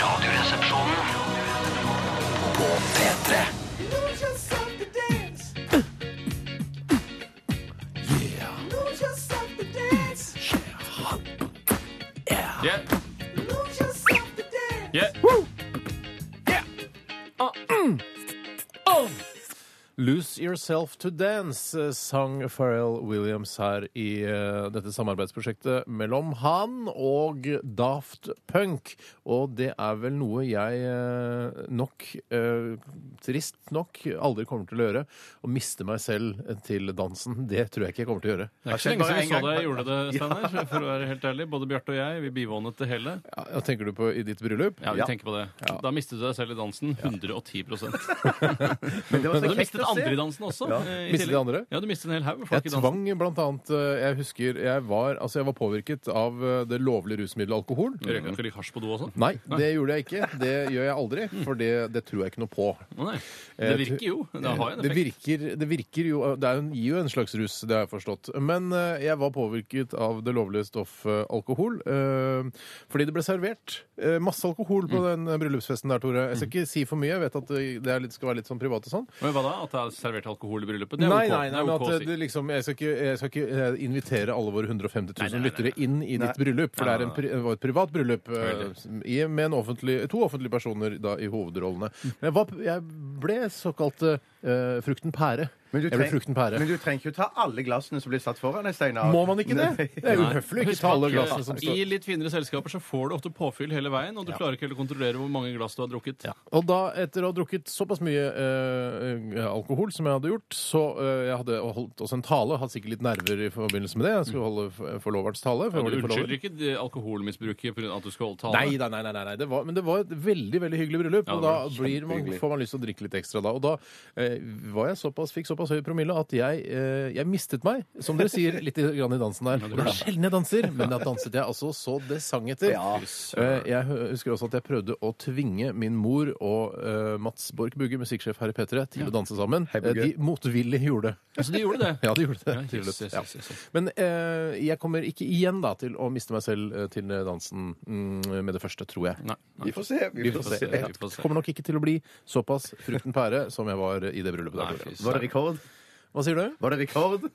Radioresepsjonen på P3. Lose yourself to dance. Lose yourself to dance. Lose yourself to Yeah. dance. Yeah. Lose Yourself to Dance eh, sang Pharrell Williams her i eh, dette samarbeidsprosjektet mellom han og Daft Punk. Og det er vel noe jeg eh, nok, eh, trist nok, aldri kommer til å gjøre. Å miste meg selv eh, til dansen. Det tror jeg ikke jeg kommer til å gjøre. Det er ikke så lenge siden vi så deg gjorde det, Steinar. For å være helt ærlig. Både Bjarte og jeg, vi bivånet det hele. Ja, ja, tenker du på i ditt bryllup? Ja, vi tenker på det. Da mistet du deg selv i dansen 110 Men det var Men så du kjekt mistet å andre i se. dansen også. Ja. eh, i Mistet tillegg. de andre? Ja, du mistet en hel haug folk Jeg i dansen. tvang blant annet eh, Jeg husker jeg var, altså jeg var påvirket av eh, det lovlige rusmiddelet alkohol. Røyka ikke litt hasj på do også? Nei, det gjorde jeg ikke. Det gjør jeg aldri, for det, det tror jeg ikke noe på. Å, Nei. Eh, Det virker jo. Det har jo en Det effekt. virker, det virker jo Det er, en- gir jo en slags rus, det har jeg forstått. Men eh, jeg var påvirket av det lovlige stoffet alkohol. eh, fordi det ble servert eh, masse alkohol på Mm. den bryllupsfesten der, Tore. Jeg skal ikke si for mye. Jeg vet at det er litt, skal være litt sånn privat og sånn. Men hva da? At det er servert alkohol i bryllupet? Det er nei, ok. nei, nei, det men er ok å at si. det liksom, jeg skal, ikke, jeg skal ikke eh, invitere alle våre 150 000 Nei, nei, nei, lyttere inn i ditt bryllup, for Nei, det, er en, nei, pri- det var et privat bryllup eh, Veldig. i, med en offentlig, to offentlige personer da, i hovedrollene. Men jeg, var, jeg ble såkalt eh, frukten pære. Men du Jeg ble treng- frukten pære. Men du trenger ikke å ta alle glassene som blir satt foran deg, Steinar. Må man ikke det? Det er Nei. uhøflig å ikke Husk ta alle at, glassene som eh, står I litt finere selskaper så får du ofte påfyll hele veien, og du klarer ikke helt å kontrollere hvor mange glass du har drukket. Og da, etter å ha drukket såpass mye eh, alkohol som jeg hadde gjort, så eh, jeg hadde holdt også en tale, hadde sikkert litt nerver i forbindelse med det. Jeg skulle holde f- forloverens tale. for jeg Du var litt forlover. unnskylder ikke det alkoholmisbruket pga. at du skal holde tale? Nei, da, nei, nei, nei, nei. Det var, men det var et veldig veldig hyggelig bryllup. Ja, det og var da blir man, får man lyst til å drikke litt ekstra da. Og da eh, var jeg såpass, fikk såpass høy promille at jeg, eh, jeg mistet meg, som dere sier, litt i- grann i dansen der. Det er sjelden jeg danser, men da danset jeg altså så det sang etter. Eh, jeg hø- husker også at jeg prøvde å tvinge min mor og eh, Mats Borch Bugge, musikksjef her i P3, til å danse sammen. Eh, de motvillig gjorde det. Altså, de gjorde det. Ja, de gjorde det. Ja, til yes, slutt. yes, yes, yes, yes. Ja. Men eh, jeg kommer ikke igjen da til å miste meg selv eh, til dansen mm, med det første, tror jeg. Nei, nei. Vi får se. Vi får se. Ja, vi får se. Kommer nok ikke til å bli såpass frukten pære som jeg var i det bryllupet. Nei, der. fy Tore. Var det rekord? Hva sier du? Var det rekord?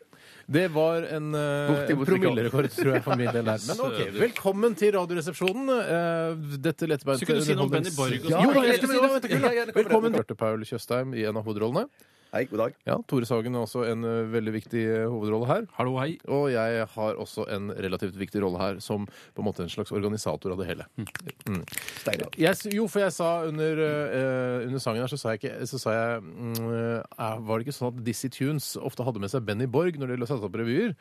Det var en eh, Bortimot promillerekord, tror jeg, for min del der. Men ok, velkommen til Radioresepsjonen. Eh, dette lettbeinte Skulle du si noe om Benny Borg og Ja, sånn? jo, Ja, jeg skulle si det, vent, ja, ja, ikke da. det kommer Velkommen. Hørte Paul Tjøstheim i en av hovedrollene. Hei, god dag. Ja, Tore Sagen har også en eh, veldig viktig eh, hovedrolle her. Hallo, hei. Og jeg har også en relativt viktig rolle her, som på en måte en slags organisator av det hele. Mm. Steinar. Jeg, s- jo, for jeg sa under, eh, under sangen her, så sa jeg ikke så sa jeg, mm, eh, Var det ikke sånn at Dizzie Tunes ofte hadde med seg Benny Borg når de satte opp revyer?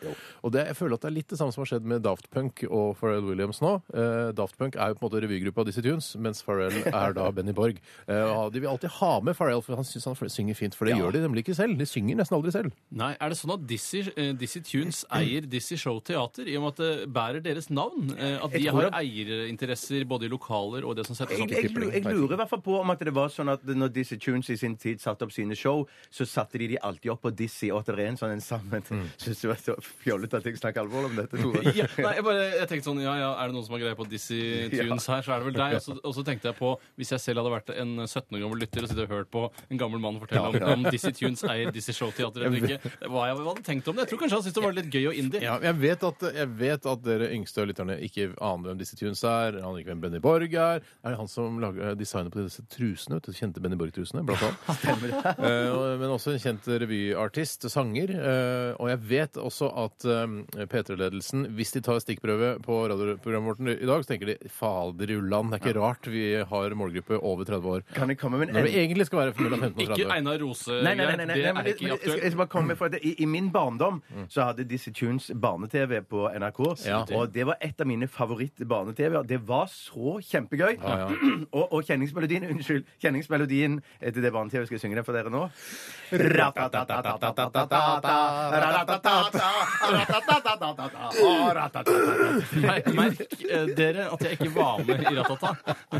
Og det, jeg føler at det er litt det samme som har skjedd med Daft Punk og Pharrell Williams nå. Eh, Daft Punk er jo på en måte revygruppa Dizzie Tunes, mens Pharrell er da Benny Borg. Eh, og de vil alltid ha med Pharrell, for han syns han synger fint. For det gjør de nemlig ikke selv. De synger nesten aldri selv. Nei, Er det sånn at Dizzie, eh, Dizzie Tunes eier Dizzie Show Teater, i og med at det bærer deres navn? Eh, at de har tror det. eierinteresser både i lokaler og det som settes Jeg, opp? jeg, lurer- jeg lurer i hvert fall på om at det var sånn at når Dizzie Tunes i sin tid satte opp sine show, så satte de de alltid opp på Dizzie, og at det er en sånn en sammen Syns du det var så fjollete at jeg snakker alvorlig om dette, Tore? Ja, nei, jeg, bare, jeg tenkte sånn, ja, ja, Er det noen som har greie på Dizzie Tunes her, så er det vel deg. Og så, og så tenkte jeg på, hvis jeg selv hadde vært en 17 år gammel lytter og sittet og hørt på en gammel mann fortelle om, om Dizzie Tunes eier Dizzie Showteater eller ikke, hva jeg hadde tenkt om det. Jeg tror kanskje han syntes det var litt gøy og indie. Ja, men jeg vet, at, jeg vet at dere yngste lytterne ikke aner hvem disse tunes er. Aner ikke hvem Benny Borg er. Er det han som lager designet på disse trusene? vet du, Kjente Benny Borg-trusene, blant annet. Eh, og- men også en kjent revyartist, sanger. Eh, og jeg vet også at eh, P3-ledelsen, hvis de tar stikkprøve på radioprogrammet vårt i dag, så tenker de fader i ulland, det er ikke rart vi har målgruppe over 30 år. Kan jeg komme med en Når det egentlig skal være mellom 15 og 30. Ikke Einar Rose. Nei, nei, nei, nei, nei, det er nei, men det- ikke men jeg skal- jeg aktuelt. Mm. skal bare komme med for at i, I min barndom så hadde Dizzie Tunes barne-TV på NRK. Ja. Og det var et av mine favoritt-barne-TV-er. Det var så kjempegøy. og, og kjenningsmelodien Unnskyld. Kjenningsmelodien eh, til det barne-TV skal jeg synge den for dere nå. Mer- Merk eh, dere at jeg ikke var med i Ratata.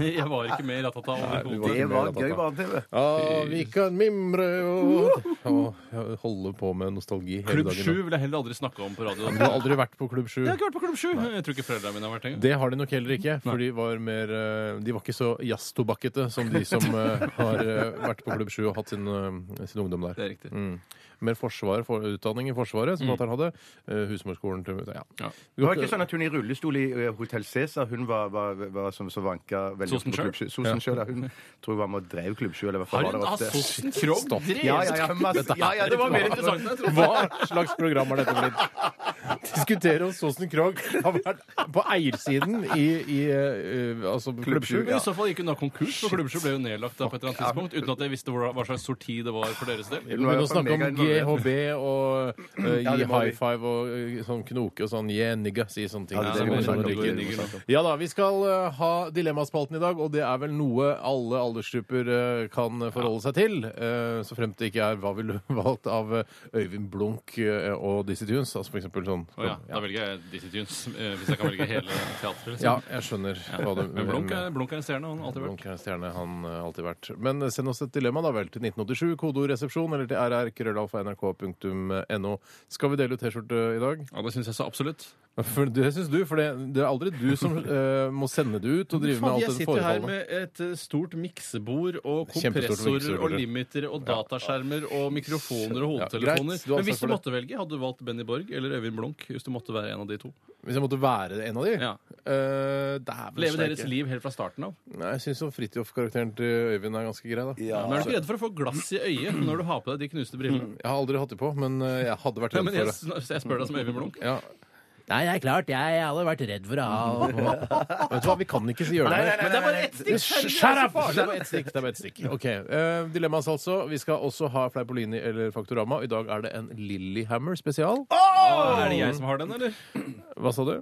Jeg var ikke med i Ratata du overhodet. var- Det var gøy barne-TV. Ja, vi kan mimre og Og holde på med nostalgi hele Klubb dagen. 7 vil jeg heller aldri snakke om på radio. Du har aldri vært på Klubb 7? Jeg har ikke vært på Klubb 7. Jeg tror ikke foreldrene mine har vært engang. Det har de nok heller ikke, for de var, mer, eh, de var ikke så jazztobakkete som de som eh, har eh, vært på Klubb 7 og hatt sin, eh, sin ungdom Det der. er riktig. Mm. Mer forsvar for utdanning i Forsvaret, som fatter'n hadde. Eh, Husmorskolen til ja. Ja. Du Det var ikke sånn at hun i rullestol i eh, Hotel Cæsar hun var, var, var som så vanka veldig Sosen på selv? Klubb Sju. Sosen sjøl. Hun tror hun var med og drev Klubb Sju, eller hva faen Har var hun det hatt ofte. sossen Krogh? Stopp. Dre- Ja, ja, ja, masse, ja, ja, det var mer interessant. enn jeg trodde. Hva slags program har dette blitt? Diskutere om Sosen Krogh har vært på eiersiden i, i eh, altså Klubb 7. Men I så fall gikk hun da konkurs, for Klubb 7 ble jo nedlagt da på et eller annet tidspunkt, uten at jeg visste hvor- hva slags sorti det var for deres del. Begynne å snakke om GHB og eh, Ja, gi det må vi. high five og eh, sånn knoke og sånn yeah, nigga, si sånne ting. Ja, det Som må vi ungdommer snakke om, drikker. det må vi snakke om. Ja da, vi skal eh, ha Dilemmaspalten i dag, og det er vel noe alle aldersgrupper eh, kan forholde seg til. eh, så fremt det ikke er hva ville du valgt av eh, Øyvind Blunk eh, og Dizzie Tunes. Altså for eksempel sånn. Å ja, da velger jeg Dizzie Tunes, eh, hvis jeg kan velge hele teatret. Ja, Liksom. jeg skjønner hva du Men Blunk er, Blunk er en stjerne, han har alltid vært. Blunk er en stjerne han eh, alltid vært. Men eh, send oss et dilemma da vel til 1987, kodeordresepsjon, eller til rrkrøllalfa.nrk.no. Skal vi dele ut T-skjorte eh, i dag? Ja, det syns jeg så absolutt. For det syns du, for det, det er aldri du som eh, må sende det ut og drive med alt det forefallende. med et eh, stort miksebord og Kjempestort miksebordet. limitere og dataskjermer og mikrofoner og Ja, greit, du har Men hvis ansvar du for måtte velge, hadde du valgt Benny Borg eller Øyvind Blunk? Hvis du måtte være en av de to. Hvis jeg måtte være en av de? Ja. Eh, dæven Leve steike. deres liv helt fra starten av. Nei, jeg syns Fridtjof-karakteren til Øyvind er ganske grei, da. Men er du altså. ikke redd for å få glass i øyet når du har på deg de knuste brillene? Jeg har aldri hatt det på, men eh, jeg hadde vært Ja, redd men jeg, for det. jeg spør deg som Øyvind Blunk. Ja. Nei, det er klart. Jeg hadde vært redd for å ha Vet du hva, vi kan ikke si gjøre det. her. Men det er bare ett stikk! Shut up! Det er bare ett stikk. Det er bare ett stikk. Ok, eh, Dilemmas, altså. Vi skal også ha Fleipolini eller Faktorama. I dag er det en Lillyhammer spesial. Er det jeg som har den, eller? Hva sa du?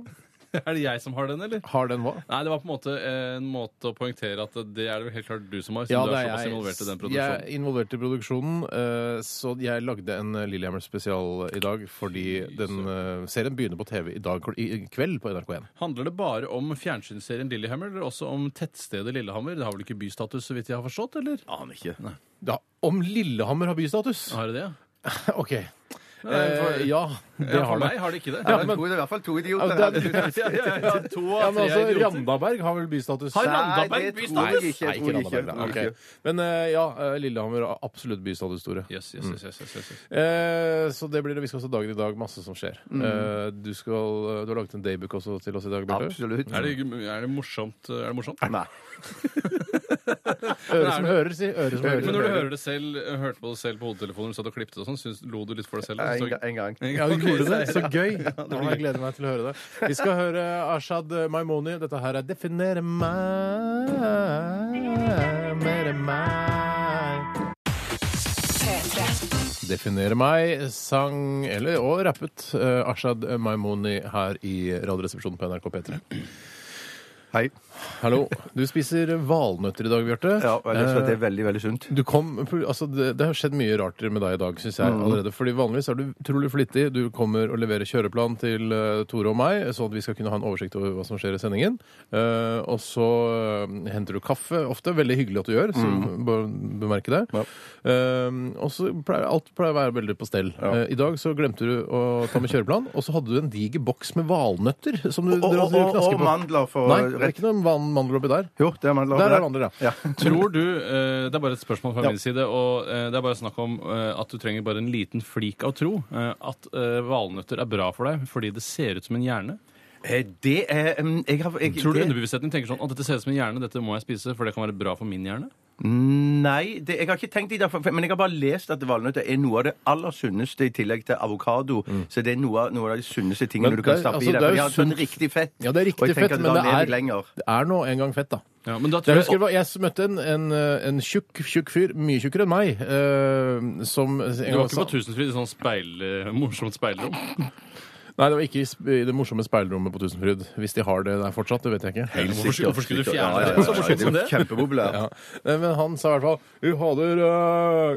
Er det jeg som har den, eller? Har den hva? Nei, det var på en måte en måte å poengtere at det er det vel helt klart du som har, siden Ja, du det er er såpass jeg. involvert i den Jeg produksjonen. er involvert i produksjonen, eh, så jeg lagde en eh, Lillehammer spesial i dag fordi den eh, serien begynner på TV i dag kl- i i kveld på NRK1. Handler det bare om fjernsynsserien Lillehammer, eller også om tettstedet Lillehammer? Det har vel ikke bystatus, så vidt jeg har forstått, eller? Aner ikke. Da, om Lillehammer har bystatus? Har det det? OK. for- Eh, ja, Ja, det for har det. meg har det ikke det. Ja, men, det er i hvert fall to idioter Ja, her. det er- Ja, ja, ja, to Ja, av men tre altså, idioter. Randaberg har vel bystatus? Har Nei, Randaberg det tror bystatus? jeg ikke. Nei, ikke Jeg tror Randaberg. ikke. Jeg da. tror Ok. ikke. Men eh, ja, eh, Lillehammer har absolutt bystatushistorie. Yes, yes, yes, yes, yes, yes, yes. Eh, så det blir det. Vi skal også dagen i dag. Masse som skjer. Eh, du, skal, eh, du har laget en daybook også til oss i dag, Bjarte. Absolutt. Er det, er det morsomt? eh, Er det morsomt? Nei. Øre som hører, si. Øre som Men når du hører. hører det selv, hørte på det selv på hodetelefonen, satt og klippet og sånn, syns- lo du litt for deg selv? En, eller? ga- en gang. Ja, du gjorde det. Så gøy. Å, jeg gleder meg til å høre det. Vi skal høre Ashad eh, Maimoni. Dette her er 'Definere meg'. Mere meg. Definere meg, sang eller og rappet eh, Ashad Maimoni her i Radioresepsjonen på NRK P3. Hei. Hallo. Du spiser valnøtter i dag, Bjarte. Ja, og jeg leser at det er veldig, veldig sunt. Eh, Du kom, altså det, det har skjedd mye rart med deg i dag, syns jeg. Mm. allerede. Fordi Vanligvis er du utrolig flittig. Du kommer og leverer kjøreplan til eh, Tore og meg, sånn at vi skal kunne ha en oversikt over hva som skjer i sendingen. Eh, og så eh, henter du kaffe ofte. Veldig hyggelig at du gjør, så Mm. bør bemerke det. Eh, og så pleier alt pleier å være veldig på stell. Eh, I dag så glemte du å ta med kjøreplan, og så hadde du en diger boks med valnøtter som du, Og, og, dere og, knasker og på. mandler for Nei, det er ikke noen van- mandel oppi der. Jo, det er mandler. Der er for mandler, ja. Tror du eh, Det er bare et spørsmål fra min side, og eh, det er bare snakk om eh, at du trenger bare en liten flik av tro. eh, At eh, valnøtter er bra for deg fordi det ser ut som en hjerne. Eh, Det er em, jeg har, jeg, Tror du det- underbevisstheten din tenker sånn at dette ser ut som en hjerne, dette må jeg spise, for det kan være bra for min hjerne? Nei, det, jeg har ikke tenkt i det, for- men jeg har bare lest at valnøtter er noe av det aller sunneste i tillegg til avokado. Så det er noe, av- noe av de sunneste tingene Mm. Men du kan det- stappe altså, i det deg. er jo For de har sånn sunt. riktig fett. Ja, det er og riktig jeg tenker fett, at men da det lever jeg er, lenger. det er nå en gang fett, da. Ja, men da Jeg tror husker jeg, det var, jeg møtte en, en, eh, en tjukk, tjukk fyr, mye tjukkere enn meg, eh, som en du var gang ikke på sa Tusenfryd i sånn speil, eh, morsomt speilrom? Nei, det var ikke i sp- i det morsomme speilrommet på Tusenfryd. Hvis de har det der fortsatt, det vet jeg ikke. Hvorfor skulle- hvorfor skulle du fjerne det? Så morsomt som det? det. er Kjempepopulær. Ja. Nei, Eh, Men han sa i hvert fall 'Vi hader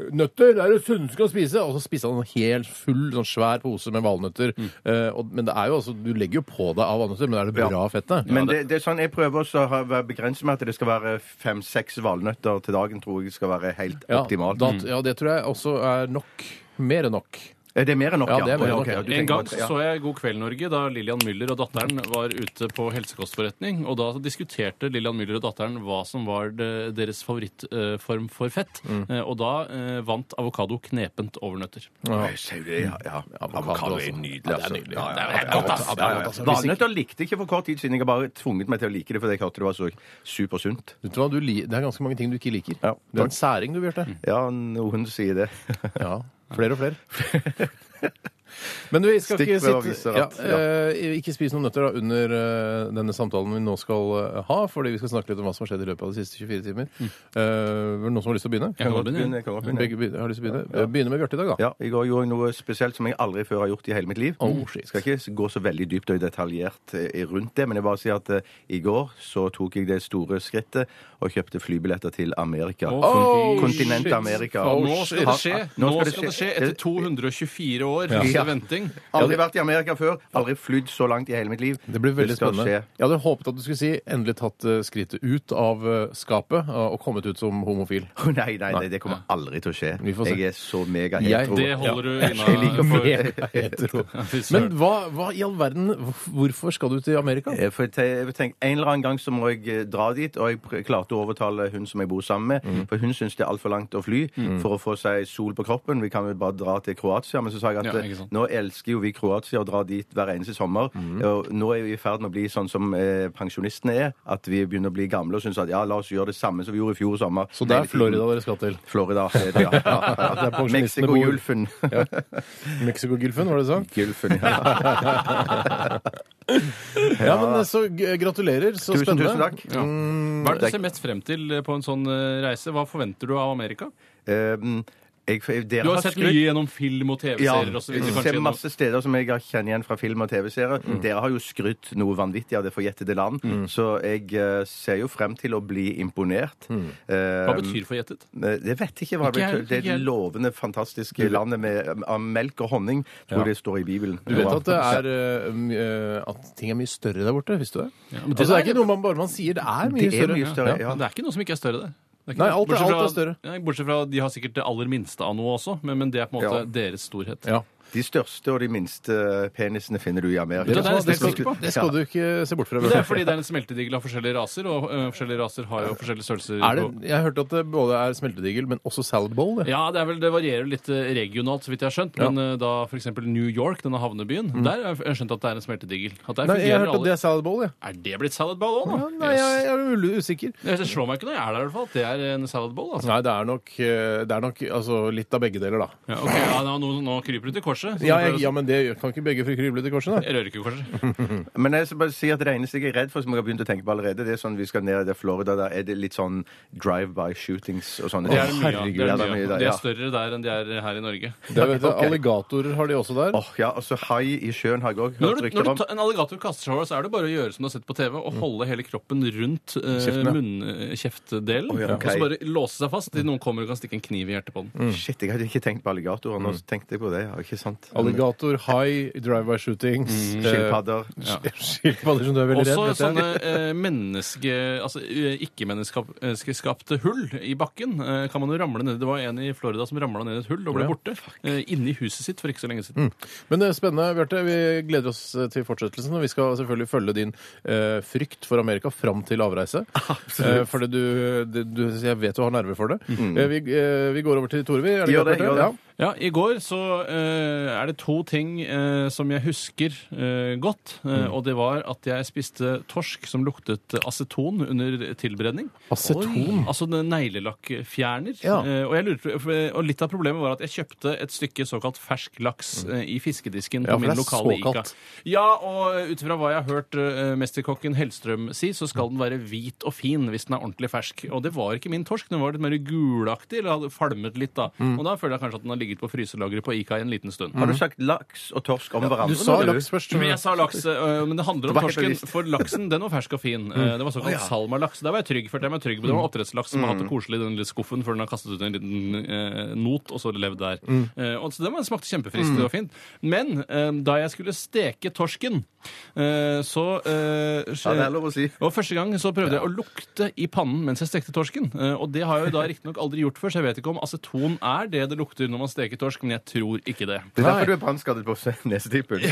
øh, nøtter, det er det sunneste du kan spise'. Og så spiste han en helt full, sånn svær pose med valnøtter. Eh, og, men det er jo altså, du legger jo på deg av valnøtter, men er det bra Ja. fett, det? Men det, det er sånn, jeg prøver også å ha- være begrenset med at det skal være fem-seks valnøtter til dagen, tror jeg skal være helt ja, optimalt. da- ja, det tror jeg også er nok. Mer enn nok. Er Eh, det mer enn nok, Ja, det er mer enn nok, Ok, ja. du En tenker gang på så det, ja. så jeg God kveld Norge da Lillian Müller og datteren var ute på helsekostforretning. Og da diskuterte Lillian Müller og datteren hva som var det- deres favorittform for fett. Mm. Eh, Og da eh, vant avokado knepent over nøtter. Ja. Nei, sier du det? Ja, ja. Avokado altså. er nydelig, Ja, det er altså. nydelig. Ja, ja, Det er ja, helt godt, ja, altså. ja, ja, Det er ja. godt, altså. Valnøtter likte jeg ikke for kort tid siden. Jeg har bare tvunget meg til å like det fordi jeg hørte det var så supersunt. Vet du hva, du li det er ganske mange ting du ikke liker. Ja, det er en særing du, Bjarte. Ja, noen sier det. Ja, flere og flere. Men du, vi skal Stikk ikke prøver sitte viser at- ja, eh, Ikke spis noen nøtter da, under eh, denne samtalen vi nå skal eh, ha, fordi vi skal snakke litt om hva som har skjedd i løpet av de siste 24 timer. Mm. Eh, var det noen som har lyst til å begynne? Jeg kan godt begynne. Begynn, jeg kan godt begynne. Begge begynner, har lyst til å begynne. Eh, Begynne med Bjarte i dag, da. Ja, I går gjorde jeg noe spesielt som jeg aldri før har gjort i hele mitt liv. Oh, shit. Skal ikke gå så veldig dypt og detaljert eh, rundt det, men jeg bare sier at eh, i går så tok jeg det store skrittet og kjøpte flybilletter til Amerika. Oh, Kontinentet shit. Amerika. Oh, Nå skal det skje! Ha- Nå skal det skje Etter 224 år Ja. med venting. Aldri vært i Amerika før. Aldri flydd så langt i hele mitt liv. Det blir veldig skal spennende. skje. Jeg hadde håpet at du skulle si 'endelig tatt eh, skrittet ut av eh, skapet' og og kommet ut som homofil. Å, nei, nei, nei, det kommer aldri til å skje. Vi får se. Jeg er så mega Jeg- hetero. Det holder du Jeg liker innafor. Hetero. Men hva, hva i all verden Hvorfor skal du til Amerika? Eh, For jeg te- jeg tenker, En eller annen gang så må jeg eh, dra dit, og jeg pr- klarte å overtale hun som jeg bor sammen med, Mhm. for hun syns det er altfor langt å fly for å få seg sol på kroppen. Vi kan vel bare dra til Kroatia. Men så sa jeg at Ja, eh, ikke sant. nå elsker jo vi Kroatia og drar dit hver eneste sommer. Mhm. Og nå er vi i ferd med å bli sånn som eh, pensjonistene er, at vi begynner å bli gamle og syns at ja, la oss gjøre det samme som vi gjorde i fjor sommer. Så det Hele er tiden. Florida dere skal til. Florida. er det, ja. Ja, Der ja. pensjonistene bor. Mexico-Gylfen. Mexicogolfen, var det sånn? Gylfen, ja. Ja, men eh, så g- gratulerer. Så Tusen, spennende. Mm. tusen takk. Hva er det du ser mest frem til eh, på en sånn eh, reise? Hva forventer du av Amerika? Eh, jeg, dere Du har sett skrytt- mye gjennom film og Ja, TV-serier osv. jeg ser masse steder som jeg kjenner igjen fra film og TV-serier. Mm. Dere har jo skrytt noe vanvittig av det forjettede land, så jeg eh, ser jo frem til å bli imponert. Eh, Mm. Hva betyr forgjettet? eh, det vet jeg ikke hva det Ikke jeg, betyr. Det ikke jeg. er det lovende, fantastiske landet med, av melk og honning, tror jeg det står i Bibelen. Du vet at, det er, eh, mye, eh, at ting er mye større der borte, visste du det? men altså, det det er er- ikke noe man bare man sier. Det er mye Det er større. mye større, Ja. ja. Men Det er ikke noe som ikke er større der. Det ikke Nei, noe. alt er- Bortsett alt er større. Ja, bortsett fra de har sikkert det aller minste av noe også, men, men det er på en måte Ja. deres storhet. Ja. De største og de minste penisene finner du i Amerika. Det er jeg Det, nesten skal, sikker på. det skal du ikke se bort fra. Men Det Bjørte. er fordi det er en smeltedigel av forskjellige raser, og øh, forskjellige raser har jo forskjellige størrelser. Er det, på- jeg hørte at det både er smeltedigel, men også salad bowl. det. Ja, det, er vel, det varierer litt eh, regionalt, så vidt jeg har skjønt. Men eh, da f.eks. New York, denne havnebyen, der har jeg skjønt at det er en smeltedigel. At der Mm. Nei, jeg fungerer hørte at alle- det er salad bowl, jeg. Er det blitt salad bowl òg, Ja, nå? nei, jeg, jeg er mulig usikker. Yes. Det slår meg ikke når jeg er der, i hvert fall. at Det er en salad bowl. Altså. Nei, det er nok, eh, det er nok altså, litt av begge deler, da. Ja, ok, ja, nå, nå- nå kryper du til korset. så du Ja, prøver jeg, å- ja, men det gjør- kan ikke begge kryble til korset, da. Jeg rører ikke korset. Men jeg skal bare si at det eneste jeg er redd for, som jeg har begynt å tenke på allerede, det er sånn vi skal ned i det Florida, der er det litt sånn drive-by-shootings og sånne Det er det mye av. herregud, Det er, ja, det det mye er mye av. der, De ja. er større der enn de er her i Norge. Det, vet du, Ok. Alligatorer har de også der. Åh, ja, altså hai i sjøen har jeg òg Når hørt du, rykter når om. du ta, en alligator kaster seg over, så er det bare å gjøre som du har sett på TV, og holde hele kroppen rundt eh, Kjeften, ja. munnkjeftdelen. ja, Og ok. Mm. så bare låse seg fast til noen kommer og kan stikke en kniv i hjertet på den. Shit, jeg hadde ikke tenkt på alligatorer. Nå Mm. tenkte jeg på det, ja, ikke sant? Mm. Alligator, hai, drive-by shootings eh, Mm, Skilpadder. Skilpadder som du er veldig redd Også vet jeg. sånne eh, menneske, altså, eh, ikke-menneskeskapte hull i bakken eh, kan man jo ramle ned Det var en i Florida som ramla ned i et hull og ble Ja. borte. Eh, inni huset sitt for ikke så lenge siden. Men det er spennende, Bjarte. Vi gleder oss eh, til fortsettelsen. Og vi skal selvfølgelig følge din eh, frykt for Amerika fram til avreise. Eh, fordi du, det- du Jeg vet du har nerver for det. Eh, vi, eh, vi går over til Tore, vi. Er Mm. Gjør det, greit, Bjarte? gjør det. Ja. Ja, I går så eh, er det to ting eh, som jeg husker eh, godt. Mm. eh, Og det var at jeg spiste torsk som luktet aceton under tilberedning. Aceton? Altså den neglelakkfjerner. Ja. Eh, og, jeg lurte, for- og litt av problemet var at jeg kjøpte et stykke såkalt fersk laks Mm. eh, i fiskedisken på Ja, for min det er lokale Ica. såkalt. Ja, og ut fra hva jeg har hørt eh, mesterkokken Hellstrøm si, så skal den være hvit og fin hvis den er Mm. ordentlig fersk. Og det var ikke min torsk. Den var litt mer gulaktig, eller hadde falmet litt da. Og da føler jeg kanskje at den har ligget på fryselageret på Ica i en liten stund. Har du sagt laks og torsk om Du hverandre? sa nå, laks først. Men jeg sa laks, øh, men det handler om var helt torsken. bevisst. Mm. For laksen den var fersk og fin. Eh, Det var såkalt salmalaks. Der var jeg trygg, følte jeg meg trygg på. Det var oppdrettslaks som har Mm. hatt det koselig i den lille skuffen før den har kastet ut en liten eh, not og så levd der. Mm. Eh, og så den var, smakte kjempefrisk. Det var fint. Men eh, da jeg skulle steke torsken, eh, så eh, Ja, det er lov å si. og Første gang så prøvde jeg å lukte i pannen mens jeg stekte torsken. Eh, Og det har jeg jo da riktignok aldri gjort før, så jeg vet ikke om aceton er det det lukter når man steker torsk, men jeg tror ikke det. Det er derfor du er brannskadet på nesetippen.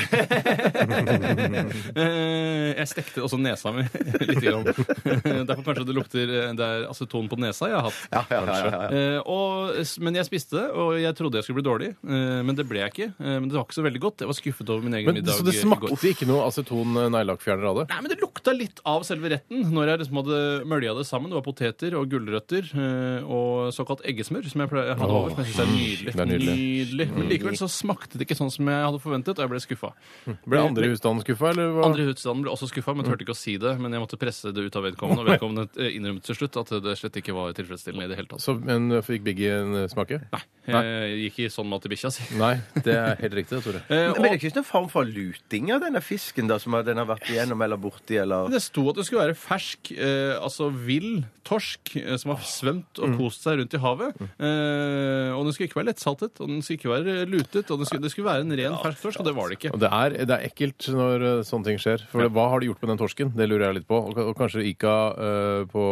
Eh, Jeg stekte også nesa mi litt. Grann. Derfor kanskje det lukter eh, Det er aceton på nesa jeg har hatt. Ja, ja, ja, ja, ja. Eh, og, s- men jeg spiste det, og jeg trodde jeg skulle bli dårlig. eh, men det ble jeg ikke. Eh, men det var ikke så veldig godt. Jeg var skuffet over min egen Men, middag. så det i går. smakte ikke noe aceton-neglelakkfjerner av det? Nei, men Det lukta litt av selve retten når jeg liksom hadde mølja det sammen. Det var poteter og gulrøtter eh, og såkalt eggesmør, som jeg pleier jeg hadde Åh, mm, over. Som jeg synes er nydelig. det er nydelig. Mm. Men likevel så smakte det ikke sånn som jeg hadde forventet, og jeg ble skuffa. Ble andre i husstanden skuffa, eller? hva? Andre i husstanden ble også skuffa, men turte ikke å si det. Men jeg måtte presse det ut av vedkommende, og vedkommende eh, innrømte til slutt at det slett ikke var tilfredsstillende i det hele tatt. Så, men fikk Biggie en eh, smake? Jeg gikk i sånn mat til bikkja si. Nei, det er helt riktig, Tore. Eh, Men det er ikke sånn form for luting av denne fisken da, som den har vært igjennom eller borti, eller Det sto at det skulle være fersk, eh, altså vill torsk eh, som har svømt Mm. og kost seg rundt i havet. Eh, og den skulle ikke være lettsaltet, og den skulle ikke være lutet. og den skulle, Det skulle være en ren fersk torsk, og det var det ikke. Og det er, det er ekkelt når eh, sånne ting skjer. For hva har de gjort med den torsken? Det lurer jeg litt på. Og, og kanskje Ika eh, på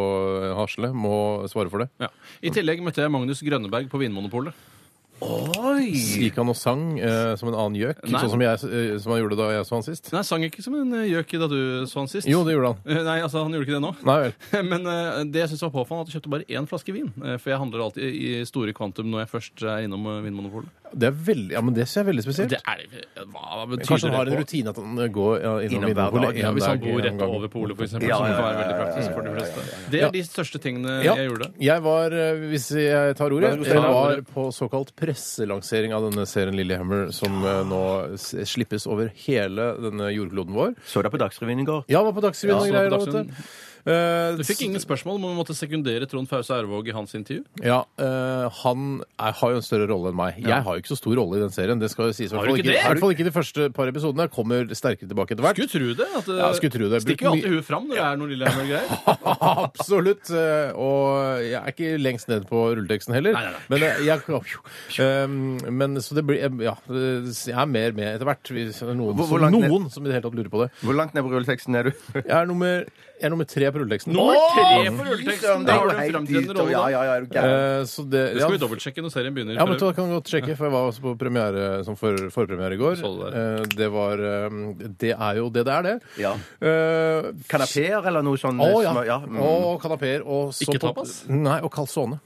Hasle må svare for det. Ja. I tillegg møtte jeg Magnus Grønneberg på Vinmonopolet. Oi! Gikk han og sang eh, som en annen gjøk, Nei. sånn som, jeg, eh, som han gjorde da jeg så han sist? Nei, han sang ikke som en eh, gjøk da du så han sist. Jo, det gjorde han. Eh, Nei, altså, han gjorde ikke det nå. Nei vel. Men eh, det jeg synes var påfallende, at jeg kjøpte bare én flaske vin. eh, for jeg handler alltid i store kvantum når jeg først er innom eh, Vinmonopolet. Det er veldig, ja, men det ser jeg er veldig spesielt. Det er Hva betyr Kanskje han har en det? på? rutine at han eh, går ja, innom Innom hver Vinmonopolet en dag, Ja, hvis han dag bor en rett gang. over polet, f.eks., Ja, som ja, kan ja, være veldig ja, ja, praktisk for de fleste. Det er de største tingene Ja. jeg gjorde. Jeg var, eh, hvis jeg tar ordet, du jeg tar var ordet. på såkalt presselansering av denne serien Lillehammer, som eh, nå s- slippes over hele denne jordkloden vår. Så deg på Dagsrevyen i går? Ja, var på Dagsrevyen Ja, og så greier. var da, på vet du. Eh, Du fikk ingen spørsmål om å måtte sekundere Trond Fause Ervåg i hans intervju? Ja, eh, han er, har jo en større rolle enn meg. Jeg har jo ikke så stor rolle i den serien. Det skal jo sies. i Har hvert du fall ikke det? I hvert fall ikke de første par episodene. Jeg kommer sterkere tilbake etter hvert. Skulle tro det. At, eh, Ja, skulle tro det. Stikker jo alltid huet fram når det er noe Lillehammer-greier. Absolutt. eh, Og jeg er ikke lengst ned på rulleteksten heller. Nei, nei, nei. Men eh, jeg, um, men så det blir Ja, jeg er mer med etter hvert. Hvis det er noen, Hvor- hvor som, langt ned- noen som i det hele tatt lurer på det. Hvor langt ned på rulleteksten er du? Jeg er nummer, jeg er nummer tre på rulleteksten. Nummer tre Åh! på rulleteksten! Da Liksom, har du en fremtredende rolle. Ja, da. ja, ja, er du gæren? Eh, Så det, Det ja, skal vi dobbeltsjekke når serien begynner. ja, men da kan du godt sjekke, for jeg var også på premiere, som for, forpremiere i går. Så det Eh, Det var eh, Det er jo det det er, det. Ja. Eh, Kanapeer eller noe sånt? Å eh, ja. smør- ja. mm. Og kanapeer. Og så Ikke på- tapas? Nei, og calzone.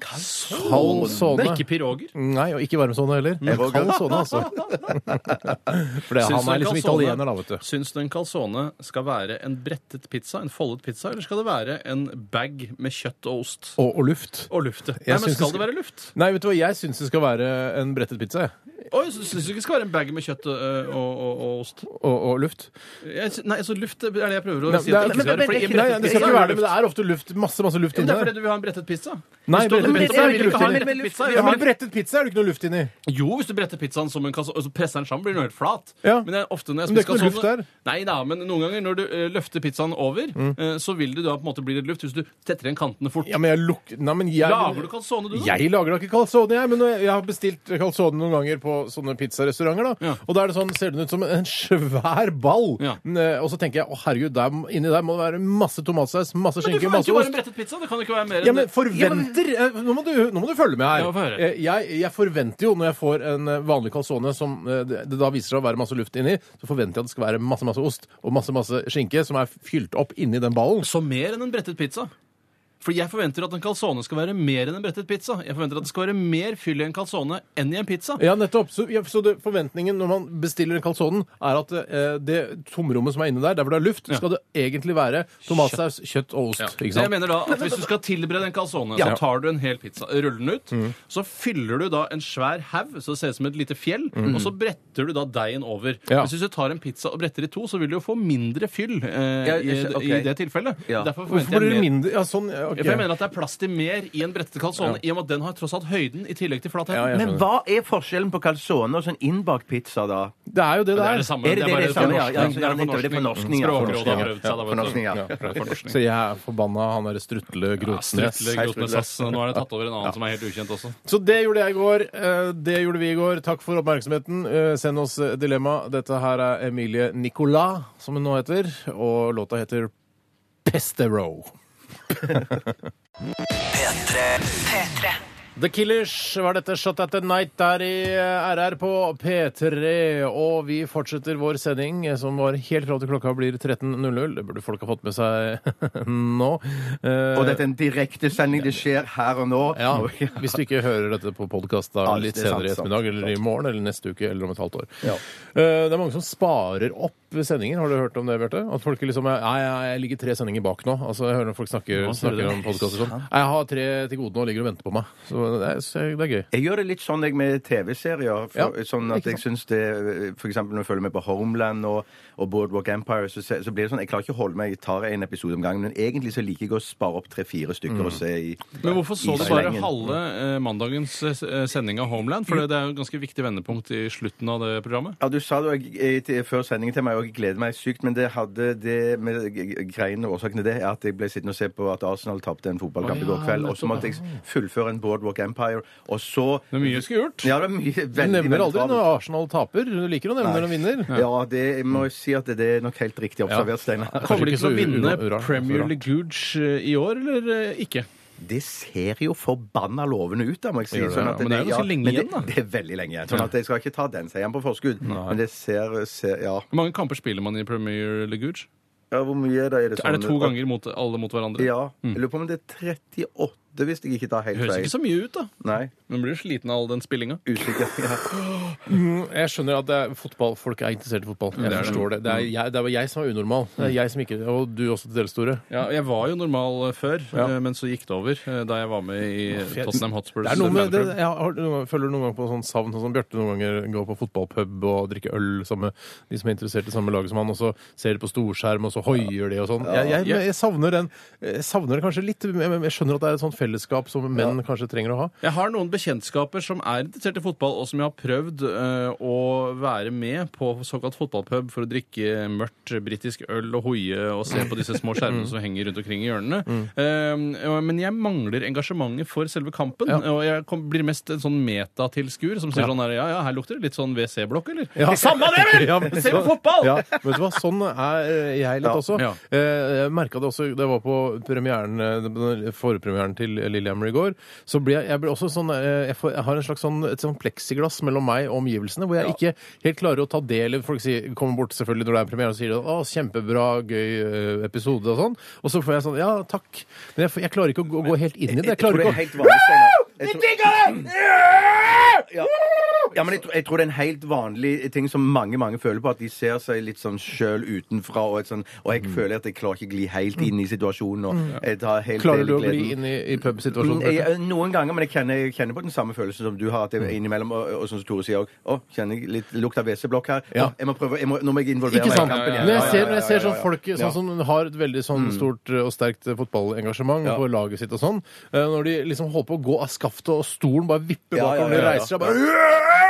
Kald Calzone. Ikke piroger. Nei, og ikke varmsone heller. Men var kald sone, altså. For det, Syns han du en er liksom calzone- italiener, da, vet du. Syns du en calzone skal være en brettet pizza, en foldet pizza, eller skal det være en bag med kjøtt og ost? Og, og luft. Og lufte. Jeg Nei, men syns det skal skal- det være luft? Nei, vet du hva, jeg syns det skal være en brettet pizza. jeg. Oi, så syns du ikke det skal være en bag med kjøtt ø, og, og, og ost? Og, og luft. Jeg, sy- nei, altså luft er det jeg prøver å Nei, si. At det det er- ikke skal være, fordi Nei, nei, det skal ikke være det, men det luft. er ofte luft. Masse, masse luft Men inni det er fordi der. du vil ha en brettet pizza? Nei, Det står brettet brettet pizza er det vil ikke ikke ha en luft brettet pizza. inni. Jeg Ja, vil ha men brettet pizza er det ikke noe luft inni. en- Jo, hvis du bretter pizzaen som en kasse, og så presser den sammen, blir den helt flat. Ja. Men det er ofte når jeg Men det er spiser ikke noe luft calzone- der. Mm. Nei da, men noen ganger når du ø, løfter pizzaen over, ø, så vil det da på en måte bli litt luft hvis du tetter igjen kantene fort. Ja, men jeg lukter Nei, men Lager du jeg calzone, du, da? jeg lager da ikke calzone, jeg, men når jeg jeg har bestilt calzone noen ganger på sånne pizzarestauranter. da, Ja. Og da er det sånn, ser den ut som en svær ball. Ja. Men, eh, Og så tenker jeg å herregud, der, inni der må det være masse tomatsaus, masse Men du skinke, forventer masse jo bare ost. en brettet pizza. Det kan jo ikke være mer Ja, enn men forventer eh, nå, må du, nå må du følge med her. Ja, få høre. Eh, jeg, jeg forventer jo, når jeg får en eh, vanlig calzone som eh, det det da viser seg å være masse luft inni, så forventer jeg at det skal være masse masse ost og masse masse skinke som er fylt opp inni den ballen. Så mer enn en brettet pizza? For jeg forventer at en calzone skal være mer enn en brettet pizza. Jeg forventer at det skal være mer fyll i en calzone enn i en pizza. Ja, nettopp. Så, ja, så det, forventningen når man bestiller en calzone, er at eh, det tomrommet som er inni der, der hvor det er luft, skal det egentlig være tomatsaus, kjøtt og ost. Ikke Så jeg sant? mener da at Hvis du skal tilberede en calzone, Ja. Mm. så tar du en hel pizza, ruller den ut, så fyller du da en svær haug, så det ser ut som et lite fjell, og så bretter du da deigen over. Mm. Ja. Men Hvis du tar en pizza og bretter i to, så vil du jo få mindre fyll eh, Ja, jeg skjø- i, ok. i det tilfellet. Ja. Derfor Hvorfor forventer blir det jeg mer. mindre? Ja, sånn, ja, ok. For jeg mener at det er plass til mer i en brettete calzone, i og med at den har tross alt høyden i tillegg til flatheten. Ja, jeg Men skjønner. hva er forskjellen på calzone og sånn innbakt pizza, da? Det er jo det det Det er. er det samme. Er det det bare det samme? Ja, ja, fornorskning. ja, nettopp, det er fornorskning, Språkrådet ja, har fornorskning, prøvd seg. da, sånn. vet du. fornorskning, ja. Så jeg er forbanna han derre strutle Grotnes. Strutle Grotnes Sass. Nå er det tatt over en annen som er helt ukjent også. Så det gjorde jeg i går. eh, Det gjorde vi i går. Takk for oppmerksomheten. Eh, Send oss eh, dilemma. Dette her er Emilie Nicolas, som hun nå heter, og låta heter Pestero. P3. The Killers var dette Shot at the Night der i eh, RR på P3. Og vi fortsetter vår sending, eh, som var helt fram til klokka blir 13.00. Det burde folk ha fått med seg nå. Eh, Og dette er en direktesending. Det skjer her og nå. Ja, Hvis du ikke hører dette på podkast Ja, litt det er sant, senere i ettermiddag eller i morgen eller neste uke eller om et halvt år. Ja. Eh, Det er mange som sparer opp sendinger. Har du hørt om det, Bjarte? At folk liksom er, Nei, nei, jeg ligger tre sendinger bak nå. Altså, Jeg hører folk snakker, Nå sier du snakker det. om podkaster sånn. Jeg har tre til gode nå og ligger og venter på meg. Så det er, så det er gøy. Jeg gjør det litt sånn jeg med TV-serier. for- Ja, Sånn at jeg syns det For eksempel når jeg følger med på Homeland og, og Boardwalk Empire, så, se- så blir det sånn Jeg klarer ikke å holde meg, jeg tar en episode om gangen. Men egentlig så liker jeg å spare opp tre-fire stykker og se i Mm. Men hvorfor så i du bare slengen. halve eh, mandagens eh, sending av Homeland? For det- det er jo et ganske viktig vendepunkt i slutten av det programmet. Ja, Du sa det jo, eh, til- før sendingen til meg, og jeg gleder meg sykt, men det hadde det med g- g- greiene og årsaken til det, er at jeg ble sittende og se på at Arsenal tapte en fotballkamp i Å, ja, går kveld, og så nettopp, måtte jeg fullføre en Boardwalk Empire, og så Det er mye jeg skulle gjort. Ja, det er mye veldig, Du nevner veldig aldri travelt. når Arsenal taper. Du liker å nevne når de vinner. Ja, det må jeg si at det, det er nok helt riktig observert, Steinar. Kommer de ikke til å så u- altså, vinne ura- ura- Premier ura. League eh, i år, eller eh, ikke? Det ser jo forbanna lovende ut, da, må jeg si. Sånn Gjør det, ja. at Men det er jo ganske lenge men det- igjen, da. Det er veldig lenge igjen. Sånn at jeg skal ikke ta den seieren på forskudd. Men det ser, ser ja. Hvor mange kamper spiller man i Premier League? ja. Hvor mye er det? Er det, Er det sånn- to ganger mot, alle mot hverandre? Ja. Mm. Jeg lurer på om det er 38, hvis jeg ikke tar helt Det høres feil. ikke så mye ut, da. Nei. Men blir jo sliten av all den spillinga. Usikker. Ja. Jeg skjønner at det er fotball, folk er interessert i fotball. Jeg forstår det. Det er jeg, det er jeg som er unormal. Det Mm. er jeg som ikke, Og du også til dels, Store. Ja, jeg var jo normal eh, før, Ja. eh, men så gikk det over eh, da jeg var med i jeg- Tottenham Hotspurs. Det er noe med det, fanklubb. jeg har, noen ganger- føler noen ganger på sånn savn, sånn som Bjarte noen ganger går på fotballpub og drikker øl sammen med de som er interessert i samme lag som han, og så ser de på storskjerm, og så hoier de og sånn. Jeg, jeg, jeg, savner den jeg savner det kanskje litt. men Jeg, jeg skjønner at det er et sånt fellesskap som menn kanskje trenger å ha. Jeg har noen bekjentskaper som er interessert i fotball, og som jeg har prøvd eh, å være med på såkalt fotballpub for å drikke mørkt britisk øl og hoie og se på disse små skjermene som henger rundt omkring i hjørnene. Eh, og- men jeg mangler engasjementet for selve kampen, og jeg kom, blir mest en sånn metatilskuer som sier Ja. sånn her Ja, ja, her lukter det litt sånn WC-blokk, eller? Ja. Samme det, vel! Ja, men Se på så- fotball! Ja, vet du hva, sånn er eh, jeg litt også. ja. Eh, Jeg merka det også da jeg var på premieren, eh, den forpremieren til Lillehammer i går. Så ble jeg, jeg ble også sånn eh, jeg, får, jeg har en slags sånn, et sånn pleksiglass mellom meg og omgivelsene, hvor jeg ikke helt klarer å ta del i Folk sier, kommer bort selvfølgelig når det er premiere og sier å, kjempebra, gøy eh, episode og sånn. Og så får jeg sånn ja, takk. Men jeg, får- jeg klarer ikke å gå, gå helt inn i det. Jeg tror klarer det er ikke å helt vanlig, Steinar. Jeg tror- Ja. Ja, men jeg, tror- jeg tror det er en helt vanlig ting som mange mange føler på, at de ser seg litt sånn sjøl utenfra. Og, et sånn, Mm. og jeg føler at jeg klarer ikke å gli helt inn i situasjonen. Og jeg tar helt Klarer del i du å gleden. bli inn i, i pubsituasjonen? Mm, Bjarte? jeg- Noen ganger, men jeg kjenner, jeg kjenner på den samme følelsen som du har. At jeg Mm. innimellom, og, og som Tore sier òg, å, kjenner jeg litt lukt av WC-blokk her? Ja. Å, jeg må prøve, jeg må, nå må jeg involvere Ikke meg i sant? kampen igjen. Når jeg Ja, ja, ser, ja, når jeg ser ja, ja, sånn ja. Mm. folk eh, sånn som har et veldig sånn stort eh, og sterkt eh, fotballengasjement på laget sitt og sånn, eh, når de liksom holder på å gå av skaftet og stolen bare vipper Ja, bakover, ja, de ja, ja. reiser seg bare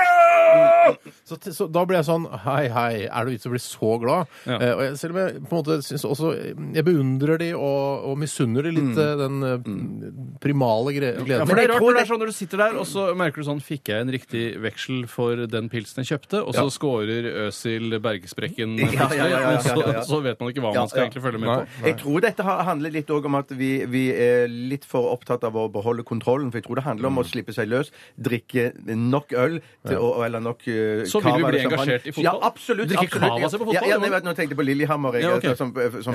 så, t- så da blir jeg sånn Hei, hei, er det vits å bli så glad? Ja. Eh, og jeg, selv om jeg på en måte syns også Jeg beundrer de og, og misunner de Mm. litt eh, den eh, primale gre gleden. Ja, for det er rart når det er sånn når du sitter der, og så merker du sånn Fikk jeg en riktig veksel for den pilsen jeg kjøpte? Og så scorer Øsil Bergesprekken Ja, ja, ja, ja, ja, ja, ja. plutselig, og Så, så vet man ikke hva Ja, man skal ja. egentlig følge med på. Jeg tror dette har- handler litt også om at vi, vi er litt for opptatt av å beholde kontrollen. For jeg tror det handler Mm. om å slippe seg løs, drikke nok øl til, å- eller nok uh, Så vil vi cava bli eller champagne. engasjert i fotball? Ja, absolutt. Drikke absolutt. cava, se på fotball, Ja, ja, det nei, var- vet, du, nå tenkte jeg på Lillehammer. Jeg, altså, Ja, ok. Som, eh, som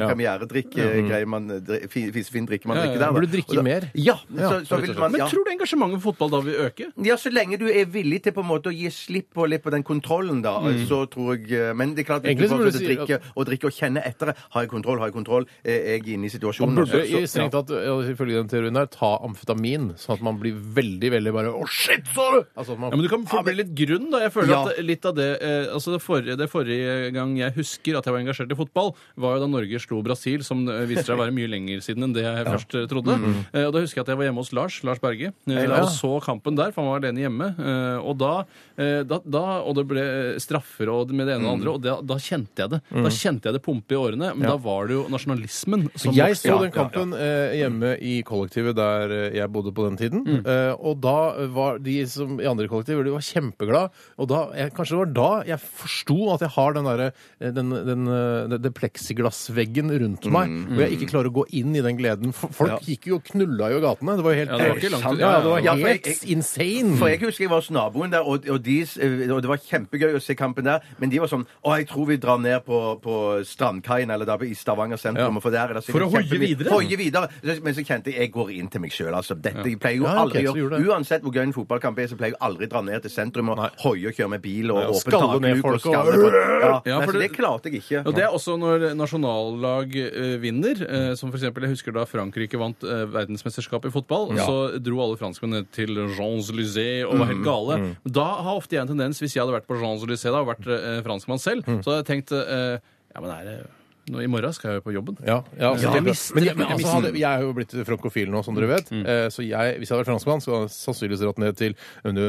premieregreie man eh, dri- fin- fisefin drikke man Ja, ja, drikker ja. der. da. Burde drikke Og da- mer. Ja, Ja, så, så vil man Men ja. tror du engasjementet for fotball da vil øke? Ja, Så lenge du er villig til på en måte å gi slipp på litt på den kontrollen, da, så tror jeg eh, Men det er klart hvis Mm. Egentlig du så burde fortsetter å du si drikke og drikke og kjenne etter det. Har jeg kontroll? Har jeg kontroll? Er jeg inne i situasjonen? Man burde Så- i strengt tatt, eh, ifølge den teorien her, ta amfetamin, sånn at man blir veldig, veldig bare Å, shit, så du! Altså, at man Ja, men Du kan få bli litt grunn. da Jeg føler Ja. at litt av det eh, altså det forrige, det forrige gang jeg husker at jeg var engasjert i fotball, var jo da Norge slo Brasil, som eh, viste seg å være mye lenger siden enn det jeg først eh, trodde. Mm. Eh, og Da husker jeg at jeg var hjemme hos Lars Lars Berge eh, og så kampen der, for han var alene hjemme. Eh, og da, eh, da, da Og det ble eh, straffer og med det ene og det Mm. andre, og da, da kjente jeg det. Da kjente jeg det pumpe i årene, men da var det jo nasjonalismen som Jeg så vokste. den kampen eh, hjemme i kollektivet der eh, jeg bodde på den tiden. Mm. Eh, og da var de som i andre kollektiv de var kjempeglad. Og da, jeg, kanskje det var da jeg forsto at jeg har den derre eh, den, den, eh, den, den pleksiglassveggen Mm. rundt meg, og jeg ikke klarer å gå inn i den gleden. For folk gikk jo og knulla jo i gatene. Det var jo helt Ja, det var ikke langt ja, unna. det var Ja, for jeg- helt insane. For jeg husker jeg var hos naboen der, og, og, de, eh, og det var kjempegøy å se kampen der. Men de var sånn Å, jeg tror vi drar ned på, på Strandkaien eller der på- i Stavanger sentrum. Ja. For, der er det sikkert For å hoie kjempemye- videre? Hoie videre. Så- Men så kjente jeg jeg går inn til meg sjøl. Altså, dette jeg pleier jo Ja, ok, aldri så å gjorde gjøre. det. Uansett hvor gøy en fotballkamp er, så pleier jeg aldri å dra ned til sentrum og Nei. hoie og kjøre med bil og Ja, åpne skalle ned takluk og folk og- skalle folk. Ja, Ja, nei, for så det- det klarte jeg ikke. Og Det er også når nasjonallag eh, vinner. eh, som for eksempel, Jeg husker da Frankrike vant eh, verdensmesterskapet i fotball. Så dro alle franskmenn ned til Champs-Élysées og Mm, var helt gale. Da har ofte jeg en tendens, hvis jeg hadde vært på Champs-Élysées da, og vært eh, franskmann selv, Mm. så hadde jeg tenkt eh, Ja, men er det nå, I morgen skal jeg jo på jobben. Ja, ja, altså, Ja, det er bra. mister- men, jeg, men altså, hadde, jeg er jo blitt frankofil nå, som dere vet. Mm. Eh, så jeg, hvis jeg hadde vært franskmann, så hadde jeg sannsynligvis dratt ned til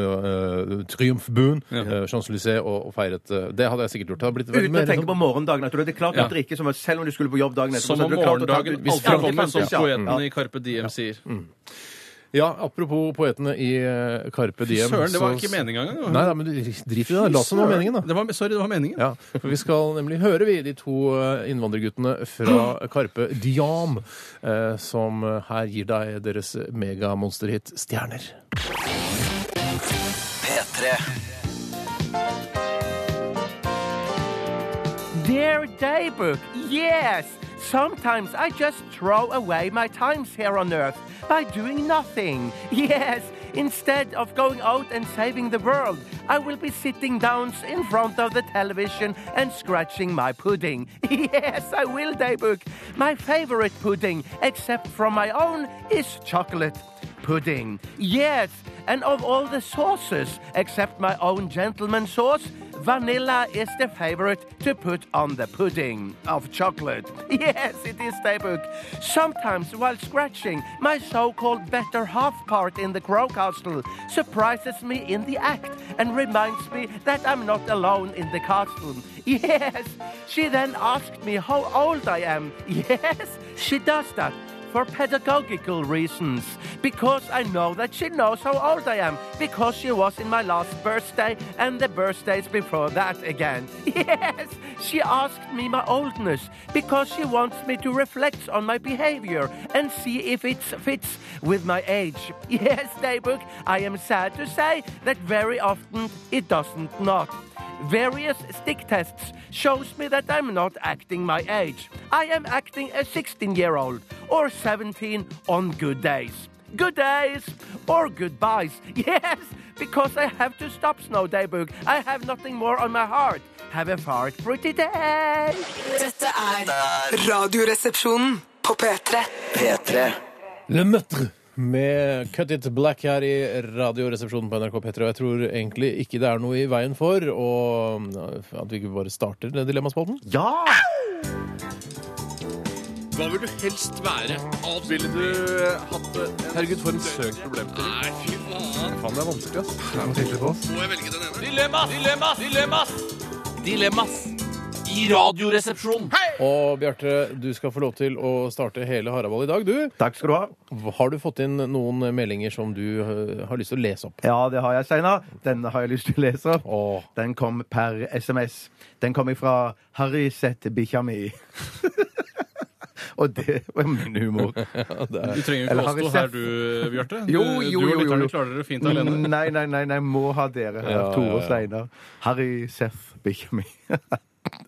uh, Triumfbuen, eh, Champs-Élysées, og, og feiret eh, Det hadde jeg sikkert gjort. Det hadde blitt veldig Uten å mer tenke på sånn- morgendagen. At du hadde klart å Ja. drikke som at selv om du skulle på jobb dagen etterpå. Som så om hadde du klart å ta- morgendagen Hvis- alltid Ja, kommer, som ja. sånn Mm. poeten i Carpe Diem sier. Ja, apropos poetene i eh, Carpe Diem Søren, det var så- ikke meningen engang. Nei, nei, men du- drit i det. da. La oss nå meningen, da. Det var, sorry, det var meningen. Ja, for vi skal nemlig høre vi de to eh, innvandrerguttene fra Karpe Diam, eh, som eh, her gir deg deres megamonsterhit 'Stjerner'. P3 Dear Daybook, yes! Sometimes I just throw away my times here on earth by doing nothing. Yes! Instead of going out and saving the world, I will be sitting down in front of the television and scratching my pudding. Yes, I will, Daybook. My favorite pudding, except from my own, is chocolate pudding. Yes, and of all the sauces, except my own gentleman sauce, vanilla is the favorite to put on the pudding of chocolate. Yes, it is Daybook. Sometimes, while scratching, my so called better half part in the Crow Castle surprises me in the act and reminds me that I'm not alone in the castle. Yes, she then asked me how old I am. Yes, she does that for pedagogical reasons. Because I know that she knows how old I am. Because she was in my last birthday and the birthdays before that again. Yes! She asked me my oldness because she wants me to reflect on my behavior and see if it fits with my age. Yes, Daybook, I am sad to say that very often it doesn't not. Various stick tests shows me that I'm not acting my age. I am acting a 16-year-old or 17 on good days. Good days or goodbyes. Yes, because I have to stop Snow Daybook. I have nothing more on my heart. Have a fart pretty day. Dette er Radioresepsjonen på P3. P3 Le Møtre med Cut It Black her i Radioresepsjonen på NRK P3. Og jeg tror egentlig ikke det er noe i veien for og at vi ikke bare starter den dilemmaspalten. Ja! Og Bjarte, du skal få lov til å starte hele Haraball i dag, du. Takk skal du ha. Har du fått inn noen meldinger som du eh, har lyst til å lese opp? Ja, det har jeg, Steinar. Den har jeg lyst til å lese opp. Åh. Den kom per SMS. Den kom ifra Harry Sett bikkja mi. Og det var min humor. Du trenger jo Eller ikke har vi oss to her, sett- du, Bjarte. Jo, Du- jo, du jo, Mm. og lytterne jo. klarer dere fint alene. Nei, nei, nei, nei, må ha dere her. Ja, Tore ja, og ja. Steinar. Harry Seth bikkja mi.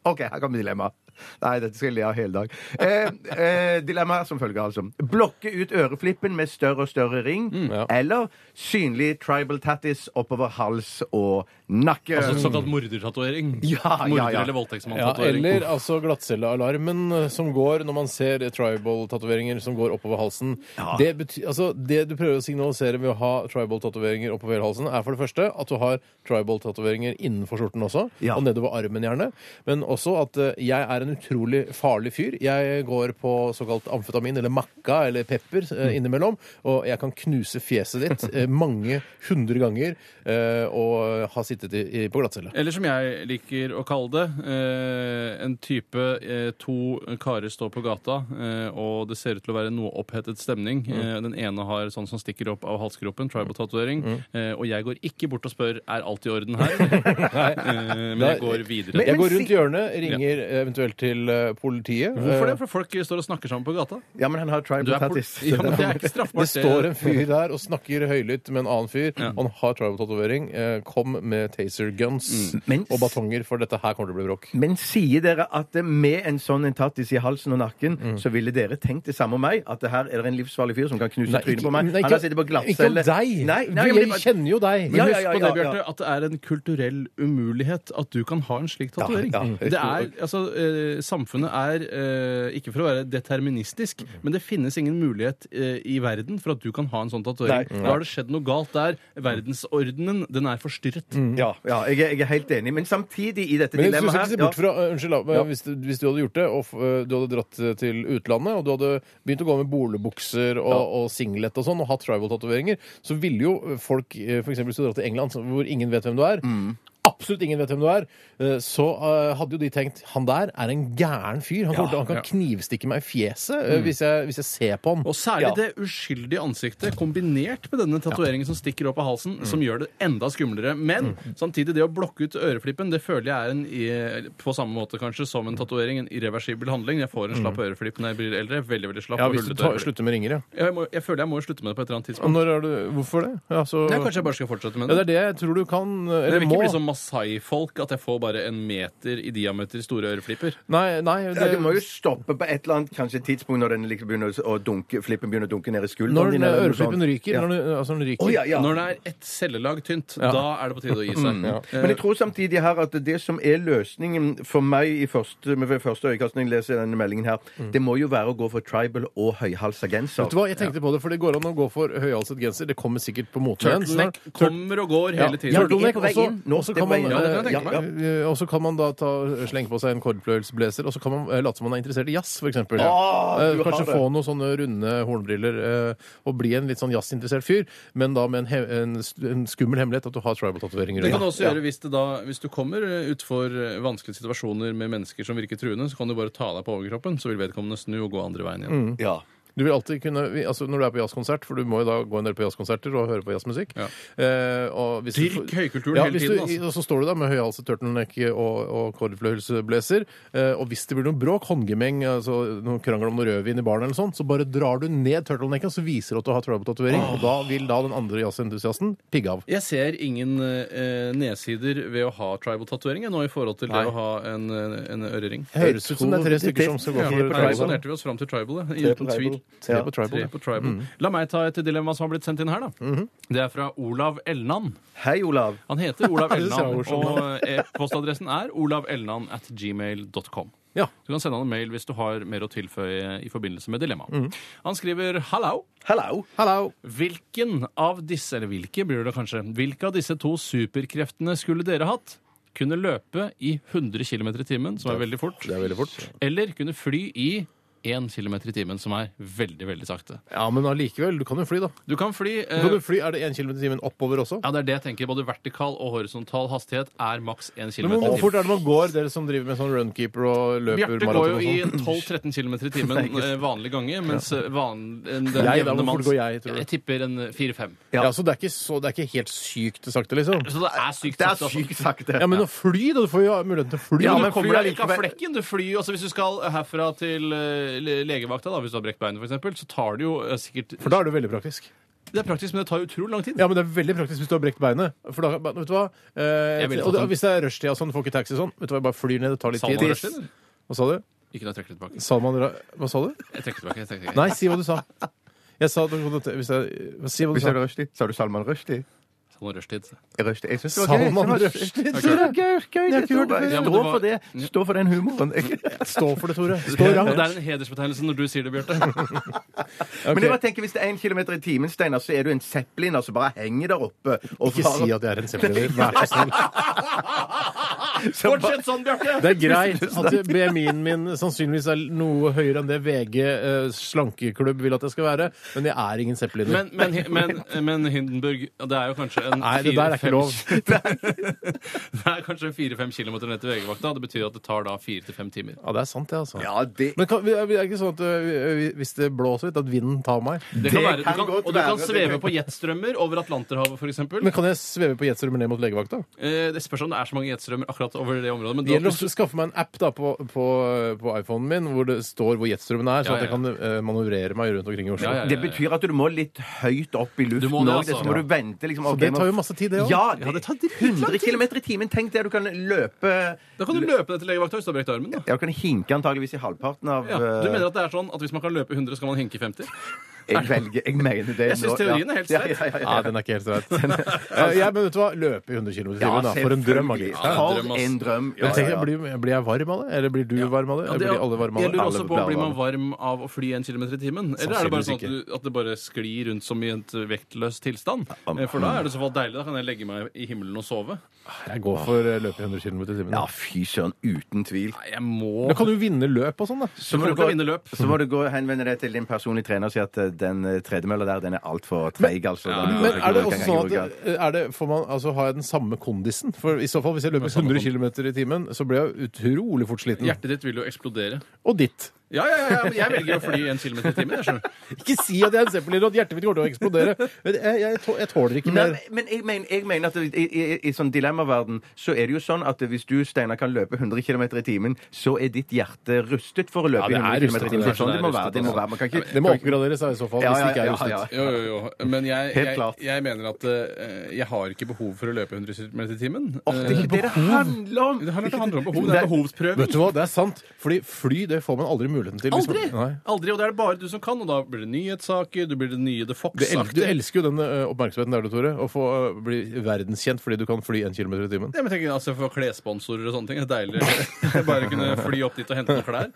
OK, her kommer dilemmaet. Nei, dette skal jeg le av hele dag. Eh, eh, dilemma her som følger, altså. Blokke ut øreflippen med større og større ring, Mm, ja. eller synlig tribal tattis oppover hals og nakke. Altså såkalt mordertatovering. Ja, ja, ja. Morder- eller Ja, voldtektsmann-tatovering. eller altså glattcellealarmen eh, som går når man ser eh, tribal-tatoveringer som går oppover halsen. Det, bety altså, det du prøver å signalisere ved å ha tribal-tatoveringer oppover halsen, er for det første at du har tribal-tatoveringer innenfor skjorten også, Ja. og nedover armen gjerne, men også at eh, jeg er en utrolig farlig fyr. Jeg går på såkalt amfetamin eller makka eller pepper eh, innimellom, og jeg kan knuse fjeset ditt eh, mange hundre ganger eh, og ha sittet i, i, på glattcelle. Eller som jeg liker å kalle det, eh, en type eh, to karer står på gata, eh, og det ser ut til å være noe opphetet stemning. Eh, den ene har sånn som stikker opp av halsgropen, tribal-tatovering, eh, og jeg går ikke bort og spør er alt i orden her, eh, men jeg går videre. Jeg går rundt hjørnet, ringer eventuelt til eh, politiet. Hvorfor Eh, det? For folk står og snakker sammen på gata. Ja, men han har Du tribal er pol- tattis. ja, men det er ikke straffbart. Det står en fyr der og snakker høylytt med en annen fyr. Han har tribal-tatovering. eh, Kom med taser guns Men- og batonger, for dette her kommer til å bli bråk. Men sier dere at eh, med en sånn en tattis i halsen og nakken, Mm. så ville dere tenkt det samme om meg? At det her er det en livsfarlig fyr som kan knuse Nei, trynet ikke- på meg? nei, Han har ikke- sittet på Ikke om glattcelle. deg! Nei, nei, Du- men det- jeg kjenner jo deg. Ja, Men ja, husk ja, på det, ja, ja. Bjarte, at det er en kulturell umulighet at du kan ha en slik tatovering. Ja, ja, helt det er, altså, eh, samfunnet er, eh, ikke for å være deterministisk, Mm. men det finnes ingen mulighet eh, i verden for at du kan ha en sånn tatovering. Nei. Da har det skjedd noe galt der. Verdensordenen, den er forstyrret. Ja, ja jeg, er, jeg er helt enig. Men samtidig i dette Men du dilemmaet skal ikke se her bort fra, eh, unnskyld, da, men hvis, du- hvis du hadde gjort det, og f- eh, du hadde dratt eh, til utlandet, og du hadde begynt å gå med boligbukser og, og singlet og sånn, og hatt tribal-tatoveringer, så ville jo eh, folk, eh, for eksempel hvis du hadde dratt til England, så- hvor ingen vet hvem du er, Mm. Absolutt ingen vet hvem du er. eh, Så eh, hadde jo de tenkt han der er en gæren fyr. Han, kommer til- han kan ja. Mm. knivstikke meg i fjeset eh, hvis, jeg, hvis jeg ser på han. Og særlig det uskyldige ansiktet kombinert med denne tatoveringen som stikker opp av Mm. halsen, som gjør det enda skumlere. Men samtidig, det å blokke ut øreflippen, det føler jeg er en i- på samme måte kanskje som en tatovering, en irreversibel handling. Jeg får en slapp øreflipp når jeg blir eldre. Veldig, veldig slapp. Mm. Ja, og hvis du hullete tar, øreflipp. slutter med ringer, ja. jeg, må, jeg føler jeg må slutte med det på et eller annet Og tidspunkt. Når er du, hvorfor det? Ja, så, Nei, kanskje jeg bare skal fortsette med ja, det det. er det jeg tror du kan, Jeg eller vil må. ikke bli som masai-folk, at jeg får bare en meter i diameter store øreflipper. Nei, nei, ja, Du må jo stoppe på et eller annet kanskje tidspunkt når den liksom begynner å dunke, flippen begynner å dunke ned i Når skulderen den din. eller noe øreflippen sånt. ryker. sånn. Ja. Når den, altså når den ryker. Å, ja, ja. Når det er ett cellelag tynt, da er det på tide å gi Mm, seg. Eh, Men jeg tror samtidig her at det som er løsningen for meg i første, med ved første øyekast når jeg leser denne meldingen her, det må jo være å gå for tribal og høyhalsa genser. Vet du hva, Mm. Jeg tenkte på det, for det går an å gå for høyhalset genser. Det kommer sikkert på moten igjen. Turtleneck kommer og går hele tiden. Ja, det er turtleneck, på vei også- inn. Nå, også det er kan på vei man, inn. Ja, det kan jeg tenke eh, ja, eh, også kan man da ta, slenge på seg en kordpløyelsblazer, og så kan man eh, late som man er interessert i jazz, f.eks. Åh, Ah, du har Kanskje det. få noen sånne runde hornbriller eh, og bli en litt sånn jazzinteressert fyr, men da med en, he en, st- en skummel hemmelighet at du har tribal-tatoveringer. Det kan du også gjøre hvis, det da, hvis du kommer eh, utfor vanskelige situasjoner med mennesker som virker truende, så kan du bare ta deg på overkroppen, så vil vedkommende snu og gå andre veien igjen. Mm. Ja. Du vil alltid kunne, vi- altså Når du er på jazzkonsert, for du må jo da gå en del på jazzkonserter og høre på jazzmusikk Ja. eh, og hvis Dyrk du- høykulturen ja, hele hvis tiden, Du, altså. og så står du da med høyhalset turtleneck og, og cordfløyelsblazer, eh, og hvis det blir noe bråk, håndgemeng, altså noen krangel om noe rødvin i baren eller sånn, så bare drar du ned turtlenecken og så viser du at du har tribal-tatovering, og da vil da den andre jazzentusiasten pigge av. Jeg ser ingen eh, nedsider ved å ha tribal-tatoveringer nå i forhold til det å ha en, eh, en ørering. Høres ut som det er tror tre stykker det- som skal gå Ja, for Der tribal. resonnerte vi oss fram til tribal, det, uten tvil. Tre på Tre tribal. ja. Mm. Mhm. på tribal. La meg ta et dilemma som har blitt sendt inn her. da. Det er fra Olav Elnan. Hei, Olav. Han heter Olav Det synes jeg er Elnan, morsomt, og eh, postadressen er olavelnan at gmail.com. Ja. Du kan sende han en mail hvis du har mer å tilføye i forbindelse med dilemmaet. Mhm. Han skriver 'hallo'. Hello. Hallo! Hvilken av disse, eller hvilke blir det kanskje, hvilke av disse to superkreftene skulle dere hatt? Kunne løpe i 100 km i timen, som er veldig fort. Det er veldig fort. Eller kunne fly i 1 km i timen, som er veldig, veldig sakte. Ja, men allikevel, du kan jo fly, da. Du kan fly eh, Kan du fly, Er det 1 km i timen oppover også? Ja, det er det jeg tenker. Både vertikal og horisontal hastighet er maks 1 km Men i hvor fort timen. er det man går, dere som driver med sånn runkeeper og løper Bjarte går jo maraton? og i sånn? 12-13 km i timen eh, vanlig gange, mens eh, van, en- den Jeg, da, jevne hvor fort manns går jeg, tror du? tipper en eh, 4-5. Ja. så det er ikke, så, det er ikke helt sykt sakte, liksom? Så det er sykt Det er sakte, altså. sykt sakte. Ja, men å fly, da! Du får jo muligheten til å fly. Ja, Du men du kommer kommer deg deg ikke av likevel- flekken. Du flyr jo altså Hvis du skal herfra til eh, le- legevakta, da, hvis du har brekt beinet f.eks., så tar det jo eh, sikkert For da er det jo veldig praktisk. Det er praktisk, men det tar jo utrolig lang tid. Ja, men det er veldig praktisk hvis du har brekt beinet. For da, vet du hva? Eh, Jeg ville og tatt da, den. hvis det er rushtid og sånn, du får ikke taxi og sånn, vet du hva, bare flyr ned, det tar litt Salman tid. Rushdie, eller? Hva sa du? Ikke noe jeg trekker det tilbake. Salman Ra... Hva sa du? Jeg trekker det tilbake. Jeg trekker det tilbake. Nei, si hva du sa. Jeg sa hvis jeg, Si hva du Hvis sa. det er Rushdie, sa du Salman Rushdie? Så nå er rushtid. Rushdie. Jeg syns det var gøy. Salman Jeg synes Rushdie. det var gøy, gøy. har ikke hørt det før. Jeg Ja, men Stå det var- for det. Stå for den humoren. Stå for det, Tore. Det Stå er rankt. en hedersbetegnelse når du sier det, Bjarte. Men jeg bare tenker, hvis det er én kilometer i timen, Steinar, så er du en zeppelin altså bare henger der oppe. Og Ikke si at jeg er en simpelthen. Vær så snill. Fortsett sånn, Bjarte! Det er greit Altså- at BMI-en min sannsynligvis er noe høyere enn det VG eh, slankeklubb vil at jeg skal være, men jeg er ingen zeppeliner. Men, men, men, eh, men Hindenburg, det er jo kanskje en Nei, det der er ikke fire-fem- lov. Det er kanskje 4-5 km ned til VG-vakta. Det betyr at det tar da 4-5 timer. Ja, det er sant, det, altså. Ja, det Men kan, er det ikke sånn at eh, hvis det blåser litt, at vinden tar meg? Det kan Det være, du kan kan, godt og du kan være. sveve på jetstrømmer over Atlanterhavet, f.eks. Men kan jeg sveve på jetstrømmen ned mot legevakta? Eh, Det spørs om det er så mange jetstrømmer akkurat over det området. Men Det gjelder da, å skaffe meg en app da på, på, på iPhonen min hvor det står hvor jetstrømmen er, så Ja, at jeg ja. kan eh, manøvrere meg rundt omkring i Oslo. Ja, ja, ja. Det betyr at du må litt høyt opp i Du luften. må det, og det, altså. så må du vente liksom Så ok, det nå- tar jo masse tid, det òg. Ja, Ja, det det tar tar dritlang 100 km i timen. Tenk det, du kan løpe da kan du løpe ned til legevakta hvis du har brekt armen. Da. Ja, du kan hinke antageligvis i halvparten av Ja. Du eh, mener at det er sånn at hvis man kan løpe 100, skal man henke 50? Jeg velger Jeg mener det. Jeg synes nå, teorien er helt ja. streit. Ja, ja, ja, den er ikke helt rett. Eh, jeg, men vet du hva? Løpe i 100 km i ja. timen, da. For en drøm, selvfølgelig. Agli. drøm, For ass. en drøm. Ja, Men tenk, ja, ja. Blir, blir jeg varm av det? Eller blir du varm av det? Ja, Eller det- blir alle varme av jeg det? lurer også Alle på blir blir man varme. varm av å fly 1 km i timen. Eller er det bare sånn at, du, at det bare sklir rundt som i en vektløs tilstand? Eh, For da er det i så fall deilig. Da kan jeg legge meg i himmelen og sove. Jeg går for eh, løpe i 100 km i timen. ja, fy søren. Uten tvil. Nei, jeg må Da kan du vinne løp og sånn, da. Så kommer til å vinne løp. så må du gå og henvende deg til din personlige trener og si at eh, den eh, tredemølla der, den er altfor treig, altså. Den- Men den- er det den- også den- sånn den- at er det, får man, altså, har jeg den samme kondisen? For i så fall, hvis jeg løper 100 km i timen, så blir jeg utrolig fort sliten. Hjertet ditt vil jo eksplodere. Og ditt. Ja, ja, ja, men jeg velger å fly 1 km i timen. jeg skjønner. Ikke si at jeg er en zeppelin og at hjertet mitt kommer til å eksplodere. Men Jeg, jeg, tå- jeg tåler ikke Nei, mer. men jeg mener, jeg mener at i, i, i, i sånn dilemmaverden så er det jo sånn at hvis du, Steinar, kan løpe 100 km i timen, så er ditt hjerte rustet for å løpe Ja, det er 100 km i rustet, timen. det Det er er sånn det må rustet, være. Det må være. Man kan ikke Det må oppgraderes da, i så fall, Ja, hvis det ja, ikke er ja, ja, rustet. Eh, Jo, jo, jo. Men jeg, Helt jeg, klart. jeg mener at eh, jeg har ikke behov for å løpe 100 km i timen. Eh, Åh, det er ikke det det handler om! Det handler det handler om behov. Det er Nei. behovsprøving. Vet du hva, det er sant. Fordi fly, det får man aldri muligheten til. hvis Aldri! Man, nei. Aldri, Og det er det bare du som kan. Og da blir det nyhetssaker, du blir det nye The Du, el Fox-aktig. du elsker jo den ø, oppmerksomheten der, du, Tore. Å få ø, bli verdenskjent fordi du kan fly en kilometer i timen. Ja, men tenk altså For klessponsorer og sånne ting. Det er deilig. Bare kunne fly opp dit og hente noen klær.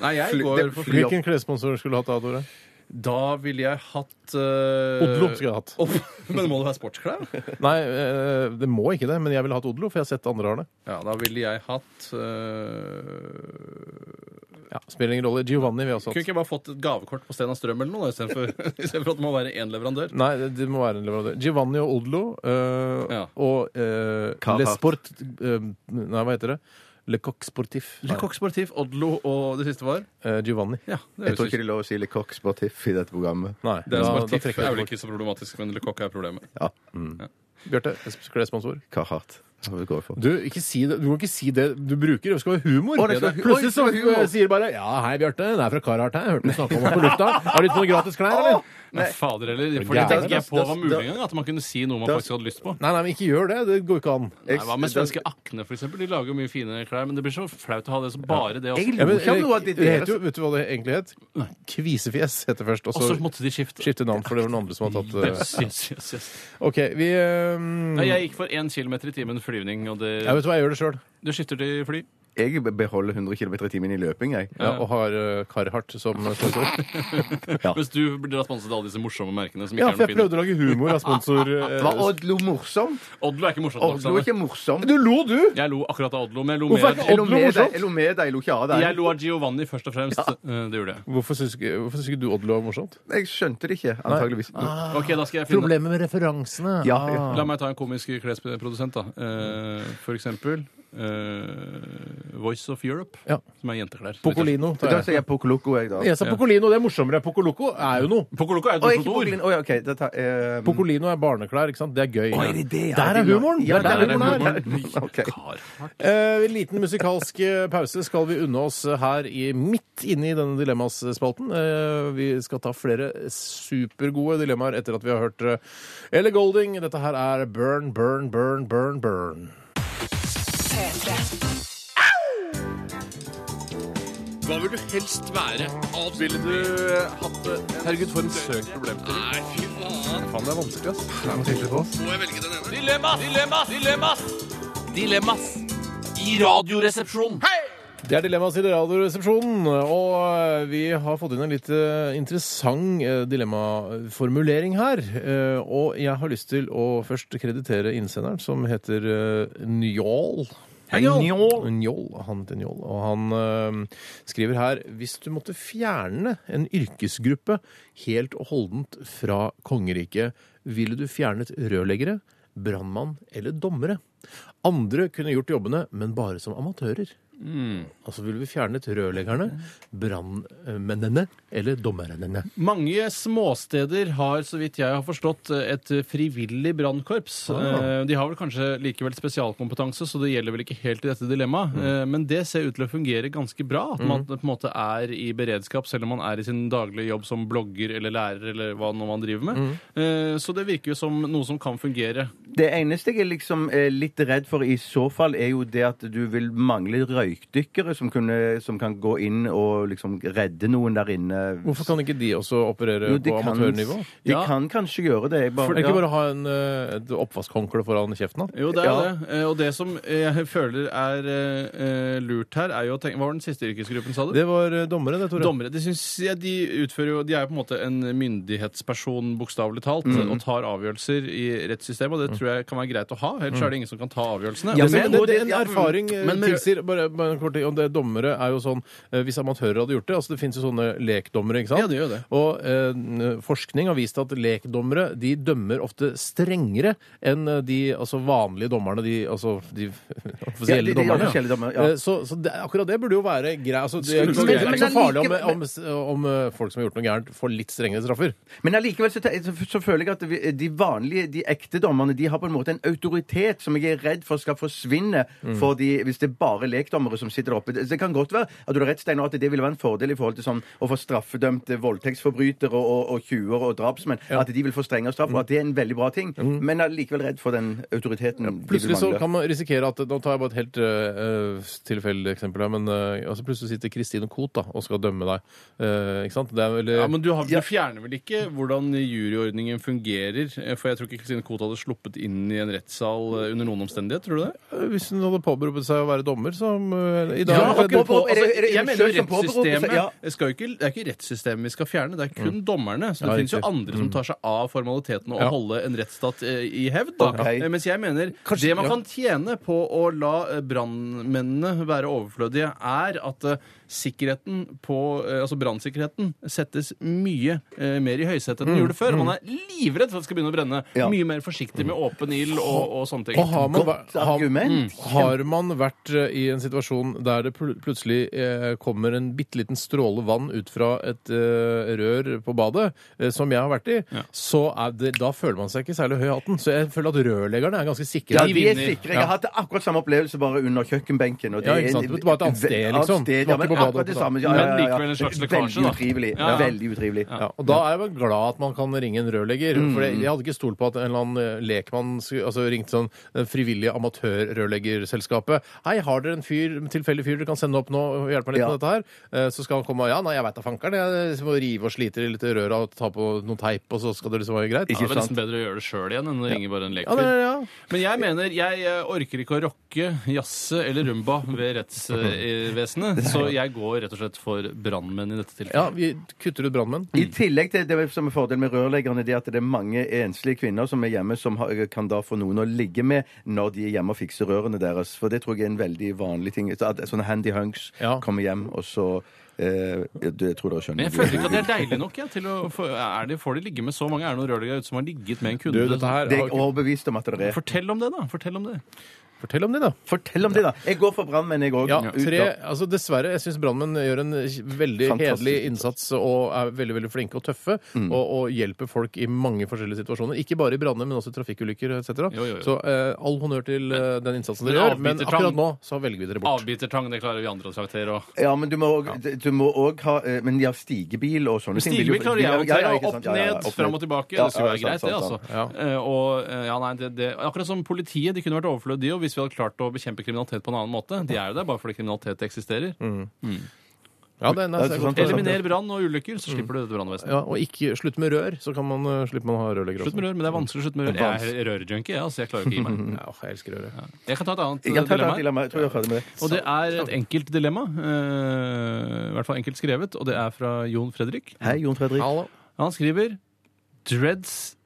Nei, jeg går for fly opp. Hvilken klessponsor skulle du hatt da, Tore? Da ville jeg hatt eh, Odlo skulle jeg hatt. Opp- Men må det være sportsklær? Nei, ø, det må ikke det, men jeg ville hatt Odlo, for jeg har sett andre har det. Ja, da ville jeg hatt eh, Ja, spiller ingen rolle. Giovanni vil jeg også Kunne hatt. ikke jeg bare fått et gavekort på Stena Strøm eller noe, da, istedenfor istedenfor at det må være én leverandør? Nei, det, det må være en leverandør. Giovanni og Odlo ø, Ja. og ø, Carhartt. Le Sport ø, Nei, hva heter det? Le Coq Sportif. Le Coq Sportif, Odlo og det siste var? Nei, ø, Giovanni. Ja, det Jeg tror høres ikke ut det er lov å si Le Coq Sportif i dette programmet. Nei, det er da- da Sportif trekker er jeg vel det bort. ikke så problematisk, men Le Coq er problemet. Ja, Bjarte, klessponsor. Carhartt. Det går jeg for. Du, ikke si det. du må ikke si det du bruker. Det skal være humor. Å, det skal- Plutselig så eh, Oi, det skal være humor. sier bare 'Ja, hei, Bjarte. Det er fra Carhartt her. Jeg hørte du snakka om oss på lufta. Har du ikke noen gratis klær, eller?' Nei, fader heller. For det gærent. tenkte ikke jeg på Da- var mulig da- engang. At man kunne si noe man faktisk hadde lyst på. Nei, nei, men ikke gjør det. Det går ikke an. Nei, Hva med svenske Akne, for eksempel? De lager jo mye fine klær, men det blir så flaut å ha det som bare det. Jeg Også. Ja, lo men, ikke av noe av det det heter deres. jo, Vet du hva det egentlig het? Kvisefjes heter først. Og Og så så måtte de skifte. skifte navn, for det var noen andre som hadde tatt Yes, yes, yes, yes. eh, OK, vi ehm, Nei, jeg gikk for 1 km i timen flyvning, og det Jeg vet hva, jeg gjør det sjøl. Du skifter til fly? Jeg beholder 100 km i timen i løping, jeg. Ja, og har eh, Carhartt som sponsor. Hvis du blir da sponset av alle disse morsomme merkene som ikke Ja, er for noe jeg fine. prøvde å lage humor av sponsor. eh, Var Odlo morsomt? Odlo er ikke morsomt nok. Odlo er Sanne. ikke morsom. Du lo, du! Jeg lo akkurat av Odlo, men jeg lo mer Hvorfor er ikke Jeg lo Odlo med deg, morsomt? jeg lo med deg, jeg lo ikke av Jeg deg. lo av Giovanni først og fremst. Eh, Det gjorde jeg. Hvorfor syns ikke, hvorfor syns ikke du Odlo var morsomt? Jeg skjønte det ikke, antageligvis. Ah. Ok, da skal jeg finne med referansene. Ah. Ja, ja. La meg ta en komisk klesprodusent, da. Eh, For eksempel eh, Voice of Europe, Ja. som er jenteklær. Pocolino. tar Da jeg. sier jeg Pokoloko, jeg, da. Jeg sa Pocolino, det er morsommere. Pocoloko er jo noe. Pokoloko er et Å, ikke morsomt ord. Pokolin. Å, ja, OK. Da tar eh, Pocolino er barneklær, ikke sant? Det er gøy. Å, er det det, ja? Der er humoren! Det Ja, er der er humoren her. humoren. Ok. Eh, liten musikalsk eh, pause skal vi unne oss her i, midt inne i denne dilemmaspalten. Eh, vi skal ta flere supergode dilemmaer etter at vi har hørt eh, Elle Golding. Dette her er Burn, Burn, Burn, Burn, Burn. P3. Hva vil du helst være? Avspille du hatt det? Herregud, for en søkt problemstilling. Nei, fy faen. Faen, det er vanskelig, ass. Må jeg velge den ene? Dilemmas! Dilemmas! Dilemmas! Dilemmas i Radioresepsjonen. Det er dilemmaet til Radioresepsjonen, og eh, vi har fått inn en litt eh, interessant eh, dilemmaformulering her. Eh, Og jeg har lyst til å først kreditere innsenderen, som heter eh, Njål. Njål. Njål, han heter Njål, og han eh, skriver her Hvis du måtte fjerne en yrkesgruppe helt og holdent fra kongeriket, ville du fjernet rørleggere, brannmann eller dommere? Andre kunne gjort jobbene, men bare som amatører. Altså ville vi fjernet rørleggerne, brannmennene eller dommerne. Mange småsteder har, så vidt jeg har forstått, et frivillig brannkorps. Ah. Eh, De har vel kanskje likevel spesialkompetanse, så det gjelder vel ikke helt i dette Mm. dilemmaet. Eh, Men det ser ut til å fungere ganske bra, at man på en måte er i beredskap, selv om man er i sin daglige jobb som blogger eller lærer eller hva nå man driver Mm. med. Eh, Så det virker jo som noe som kan fungere. Det eneste jeg er liksom eh, litt redd for i så fall, er jo det at du vil mangle røykdykkere som, kunne, som kan gå inn og liksom redde noen der inne. Hvorfor kan ikke de også operere Jo, de på kan- amatørnivå? De Ja. kan kanskje gjøre det. Jeg Er bare, det ikke bare å ha en, eh, et oppvaskhåndkle foran kjeften? da? Jo, det er jo Ja. det. Eh, Og det som jeg føler er eh, eh, lurt her, er jo å tenke Hva var den siste yrkesgruppen, sa du? Det var eh, dommere, det, Tore. Dommere de, syns- ja, de, utfører jo, de er jo på en måte en myndighetsperson, bokstavelig talt, og tar avgjørelser i rettssystemet. Og det tror jeg kan være greit å ha, ellers er det ingen som kan ta avgjørelsene. Ja, Og så- men, men- det, det, det- en ja, mm. erfaring eh, Men- men- tilsier bare, bare en kort ting, og det Dommere er jo sånn eh, Hvis amatører hadde gjort det altså Det finnes jo sånne lekdommere, ikke sant? Ja, det gjør det. Og eh, forskning har vist at lekdommere de dømmer ofte strengere enn eh, de altså vanlige dommerne, de altså de Ja, offisielle de- de dommerne. offisielle dommerne, ja. Eh, Så, så det, akkurat det burde jo være greit. Altså, det, er ikke Men- så- det er men ikke så farlig om, allikevel- om, om eh, folk som har gjort noe gærent, får litt strengere straffer. Men allikevel så, te- så, så føler jeg at vi, de vanlige, de ekte dommerne, de har på en måte en autoritet som jeg er redd for skal forsvinne Mm. fordi, hvis det er bare lekdommere som sitter der oppe. Det det kan godt være at du har rett, Steinar, at det ville være en fordel i forhold til sånn å få straffedømte voldtektsforbrytere og, og, og tjuver og drapsmenn. At de vil få strengere straff, og at det er en veldig bra ting. Men jeg er likevel redd for den autoriteten de vil Mm. Plutselig så mangle. kan man risikere at Nå tar jeg bare et helt uh, tilfeldig eksempel her, men eh, altså plutselig sitter Kristine Koht da, og skal dømme deg. Eh, ikke sant? Det er veldig Ja, men du, har, du fjerner vel ikke hvordan juryordningen fungerer? eh, For jeg tror ikke Kristine Koht hadde sluppet inn i en rettssal eh, under noen omstendighet, tror du det? Eh, Hvis hun hadde påberopt seg å være dommer, som eh, i dag Ja, Eh, akkurat. det- på- er det- er det jeg mener jo selv som påberoper seg? rettssystemet Ja. det skal jo ikke, Det er ikke rettssystemet vi skal fjerne, det er kun dommerne. Så det Mm. Ja, finnes jo riktig. Mm. andre som tar seg av formaliteten og Ja. holde en rettsstat eh, i hevd. Da. Ok. Eh, Mens jeg mener Kanskje- det man ja. kan tjene på å la eh, brannmennene være overflødige, er at eh, sikkerheten på eh, Altså brannsikkerheten settes mye eh, mer i høysetet enn den Mm. gjorde før. Man er livredd for at det skal begynne å brenne. Ja. Mye mer forsiktig med åpen ild og, og sånne ting. og har man, Mm. Godt væ- har, argument. har man vært eh, i en situasjon der det pl plutselig eh, kommer en bitte liten stråle vann ut fra et eh, rør på badet, eh, som jeg har vært i, så er det, da føler man seg ikke særlig høy i hatten. Så jeg føler at rørleggerne er ganske sikre. Ja, De de er vinner. sikre. Jeg har hatt akkurat samme opplevelse bare under kjøkkenbenken. Og Ja, ikke sant. Det var et annet sted, liksom. Det var ikke ja, men på badet akkurat oppe, det da. samme. Ja, ja, ja, ja. Men likevel en slags lekkasje, da. Veldig utrivelig. Ja, ja. Veldig utrivelig. Ja, og da er jeg vel glad at man kan ringe en rørlegger. Mm, For jeg, jeg hadde ikke stolt på at en eller annen eh, lekmann skulle- altså ringte sånn eh, frivillig amatørrørleggerselskapet. Hei, har dere en fyr, en tilfeldig fyr dere kan sende opp nå og hjelpe meg litt Ja. med dette her? Eh, Så skal han komme og ja, nei, jeg veit da fankeren, jeg må rive og slite litt i røra og ta på noe teip, og så skal det liksom være greit. Ja, det er ja, vel nesten bedre å gjøre det sjøl igjen enn å ringe bare en ja, det, lekfyr. er- ja. Men jeg mener, jeg eh, orker ikke å rocke, jazze eller rumba ved rettsvesenet, så jeg går rett og slett for brannmenn i dette ja, tilfellet. vi kutter ut brannmenn. I tillegg til det som er fordelen med rørleggerne, det er at det er mange enslige kvinner som er hjemme, som har, kan da få noen å ligge med når de er hjemme og fikser rørene deres. For det tror jeg er en veldig vanlig ting. Så At sånne handy hunks Ja. kommer hjem, og så eh, det, Jeg tror dere skjønner. Men jeg føler ikke at det er deilig nok. Jeg, til å få, er det, får de ligge med så mange? Er det noen rørleggere ute som har ligget med en kunde? Du, dette her Det er har jeg overbevist om at det er. Fortell om det, da. Fortell om det. Fortell om det, da. Fortell om det, da! Jeg går for brannmenn, jeg òg. Ja, tre, altså dessverre, jeg syns brannmenn gjør en veldig Fantastisk hederlig innsats Mm. og er veldig veldig flinke og tøffe og, og hjelper folk i mange forskjellige situasjoner. Ikke bare i branner, men også i trafikkulykker etc. Jo, jo, jo. Så eh, all honnør til eh, den innsatsen dere Men gjør, men avbitertrang- akkurat nå så velger vi dere bort. Avbitertang, det klarer vi andre å traktere. og- Ja, men du må òg du må også ha eh, Men de har stigebil og sånne ting. Stigebil klarer jeg å Ja, ja, håndtere. ikke Opp, sant? Ja, ja, ja, ned, opp, fram og ned. tilbake. Ja, Det skulle være ja, sant, greit, det, sant, altså. sant. sant. Eh, Og, eh, ja, nei, det, det, akkurat som politiet, de kunne vært overflødige, og hvis vi hadde klart å bekjempe kriminalitet på en annen måte. De er jo der bare fordi kriminalitet eksisterer. Ja, det, nei, så jeg Det er kan sant. ta- Eliminer brann og ulykker, så slipper du dette brannvesenet. Ja, og ikke slutt med rør, så kan man, eh, slipper man å ha rørleggere. Slutt med rør, men det er vanskelig å slutte med rør. Jeg er rørjunkie, jeg, altså. Jeg klarer ikke å gi meg. Ja, jeg elsker rør, jeg. Jeg kan ta et annet Jeg kan ta et dilemma. annet dilemma. Jeg tror jeg er ferdig med det. Og det er et enkelt dilemma. eh, I hvert fall enkelt skrevet, og det er fra Jon Fredrik. Hei, Jon Fredrik. Hallo. Han skriver dreads